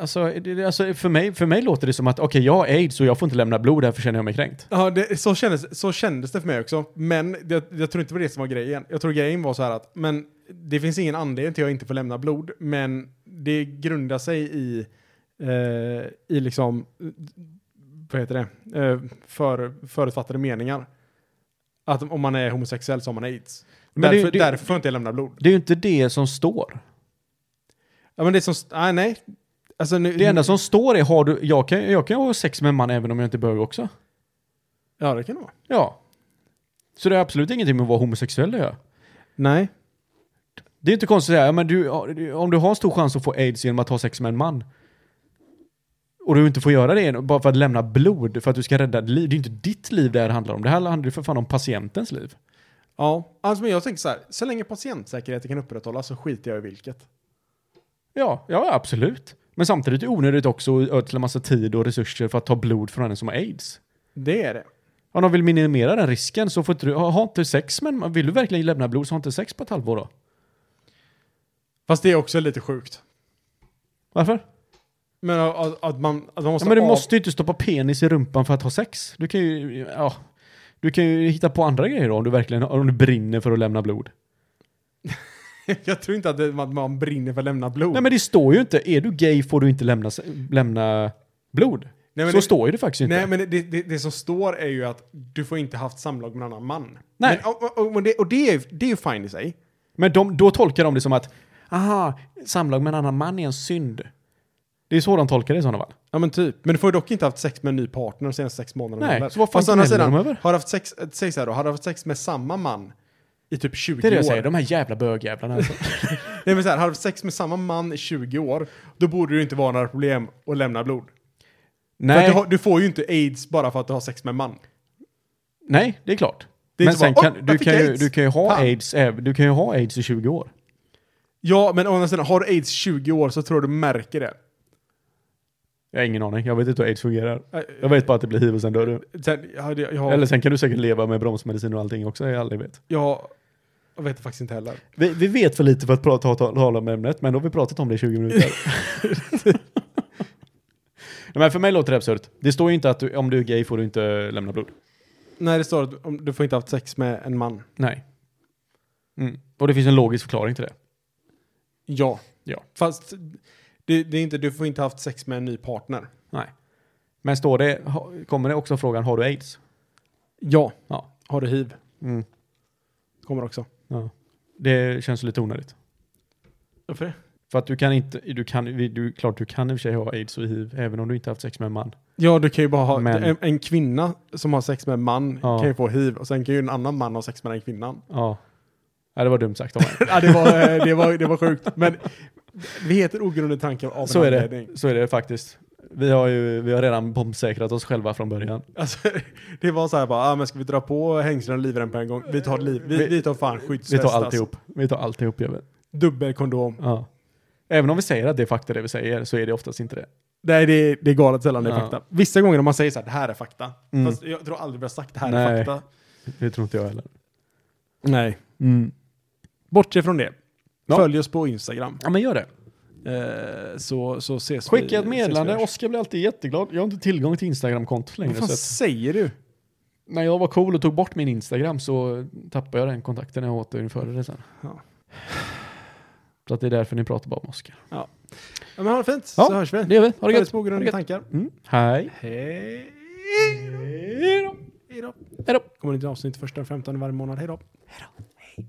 C: Alltså, det- det- alltså för, mig, för mig låter det som att okej jag har aids och jag får inte lämna blod, därför känner jag mig kränkt.
A: Ja, det, så, kändes, så kändes det för mig också. Men jag, jag tror inte det var det som var grejen. Jag tror grejen var så här att, men det finns ingen anledning till att jag inte får lämna blod, men det grundar sig i, eh, i liksom, eh, vad heter det, eh, för, förutfattade meningar. Att om man är homosexuell så har man aids.
C: Men
A: därför,
C: det- det-
A: därför får jag inte lämna blod.
C: Det är ju inte det som står.
A: Ja, men det är som, nej, nej. Alltså, nu,
C: Det enda som står är har du, jag kan, jag kan ha sex med en man även om jag inte bög också.
A: Ja, det kan det vara.
C: Ja. Så det är absolut ingenting med att vara homosexuell att göra.
A: Nej.
C: Det är inte konstigt att säga, ja, men du, om du har stor chans att få aids genom att ha sex med en man och du inte får göra det bara för att lämna blod för att du ska rädda ett liv. Det är inte ditt liv det här handlar om. Det här handlar ju för fan om patientens liv.
A: Ja, alltså, men jag tänker så här, så länge patientsäkerheten kan upprätthållas så skiter jag i vilket.
C: Ja, ja absolut. Men samtidigt är det onödigt också att ödsla massa tid och resurser för att ta blod från en som har aids.
A: Det är det.
C: Om de vill minimera den risken så får inte du, ha, ha inte sex men vill du verkligen lämna blod så ha inte sex på ett halvår då.
A: Fast det är också lite sjukt.
C: Varför?
A: Men att, att, man, att man
C: Ja,
A: måste...
C: men du
A: av-
C: måste ju inte stoppa penis i rumpan för att ha sex. Du kan ju, ja, du kan ju hitta på andra grejer då, om du verkligen om du brinner för att lämna blod.
A: jag tror inte att, det, att man brinner för att lämna blod.
C: Nej men det står ju inte, är du gay får du inte lämna, se- lämna blod.
A: Nej, men
C: Så
A: det-
C: står ju det faktiskt inte.
A: Nej, men det, det, det som står är ju att du får inte haft samlag med en annan man.
C: Nej.
A: Men, och och, och, men det, och det, är, ju- det är ju fine i sig.
C: Men de, då tolkar de det som att, aha, samlag med en annan man är en synd. Det är så de tolkar det i sådana fall.
A: Ja men typ. Men du får ju dock inte haft sex med en ny partner de senaste sex månaderna.
C: Nej,
A: heller.
C: så vad fan
A: Fast å andra
C: gnäller
A: sidan,
C: de över?
A: Har du haft sex, äh, säg så här då, har du haft sex med samma man i typ 20
C: Det är det
A: år?
C: jag säger, de här jävla bögjävlarna alltså.
A: Nej men så här, har du haft sex med samma man i 20 år, då borde det ju inte vara några problem att lämna blod. För att
C: nej,
A: du, har, du får ju inte aids bara för att du har sex med en man.
C: nej, det är klart.
A: Det är
C: men
A: inte
C: sen
A: bara, "Oj,
C: kan,
A: jag
C: du,
A: fick
C: kan ju,
A: aids."
C: du kan ju ha
A: Fan.
C: aids, äv- du kan ju ha aids i 20 år.
A: Ja, men å andra sidan, har du aids 20 år så tror jag du märker det.
C: Jag har ingen aning, jag vet inte hur aids fungerar.
A: Äh,
C: Jag vet bara att det blir hiv och sen dör du.
A: Sen, jag, hade- jag, har-
C: Eller sen kan du säkert leva med bromsmedicin och allting också, jag aldrig vet.
A: jag, har- jag vet faktiskt inte heller.
C: Vi, vi vet för lite för att prata, ta, tala om ämnet, men då har vi pratat om det i 20 minuter. Nej, men för mig låter det absurt. Det står ju inte att du, om du är gay får du inte lämna blod.
A: Nej, det står att om- du får inte ha haft sex med en man.
C: Nej. Mm. Och det finns en logisk förklaring till det.
A: Ja.
C: Ja.
A: Fast det, det är inte, du får inte ha haft sex med en ny partner.
C: Nej. Men står det, ha- kommer det också frågan, har du aids?
A: Ja.
C: Ja.
A: Har du hiv?
C: Mm.
A: Kommer också.
C: Ja. Det känns lite onödigt.
A: Varför det?
C: För att du kan inte, du kan, du, klart du kan i och för sig ha aids och hiv, även om du inte haft sex med en man.
A: Ja, du kan ju bara ha...
C: Men-
A: En, en kvinna som har sex med en man
C: Ja.
A: kan ju få hiv och sen kan ju en annan man ha sex med den kvinnan.
C: Ja. ja det var dumt sagt av mig.
A: ja, det var, eh, det, var, det var sjukt. Men vi heter ogrundade tankar av
C: Så
A: en
C: är
A: anledning.
C: det, så är det faktiskt. Vi har ju vi har redan bombsäkrat oss själva från början.
A: Alltså, det var så här bara, ah, men ska vi dra på hängslen och livrem på en gång? Vi tar, liv, vi,
C: Vi-
A: vi tar fan skyddsväst.
C: Vi tar
A: alltså.
C: alltihop. Vi tar alltihop, jag vet.
A: Dubbelkondom.
C: Ja. Även om vi säger att det är fakta det vi säger så är det oftast inte det.
A: Nej, det, det är galet sällan det är
C: Ja.
A: fakta. Vissa gånger om man säger så här, det här är fakta.
C: Mm.
A: Fast jag tror aldrig vi har sagt det här är
C: Nej.
A: fakta.
C: Det tror inte jag heller.
A: Nej.
C: Mm.
A: Bortse från det.
C: Ja.
A: Följ oss på Instagram.
C: Ja men gör det.
A: Eh, så, så ses vi.
C: Skicka ett
A: ses vi
C: meddelande.
A: hörs.
C: Oskar blir alltid jätteglad. Jag har inte tillgång till Instagram-kontot längre.
A: Vad fan
C: Så att
A: säger du?
C: när jag var cool och tog bort min Instagram så tappade jag den kontakten när jag återinförde det sen.
A: Ja.
C: Så att det är därför ni pratar bara om Oskar.
A: Ja, men ha det fint,
C: Ja,
A: så hörs vi.
C: Det gör vi. Ha det
A: Följ oss
C: gött.
A: på
C: Ha
A: grund
C: det
A: i
C: gött.
A: tankar.
C: Mm. Hej.
A: Hej
C: Hej då.
A: Hej då.
C: Hej då.
A: Kommer det inte avsnitt första och 15 varje månad. Hej då.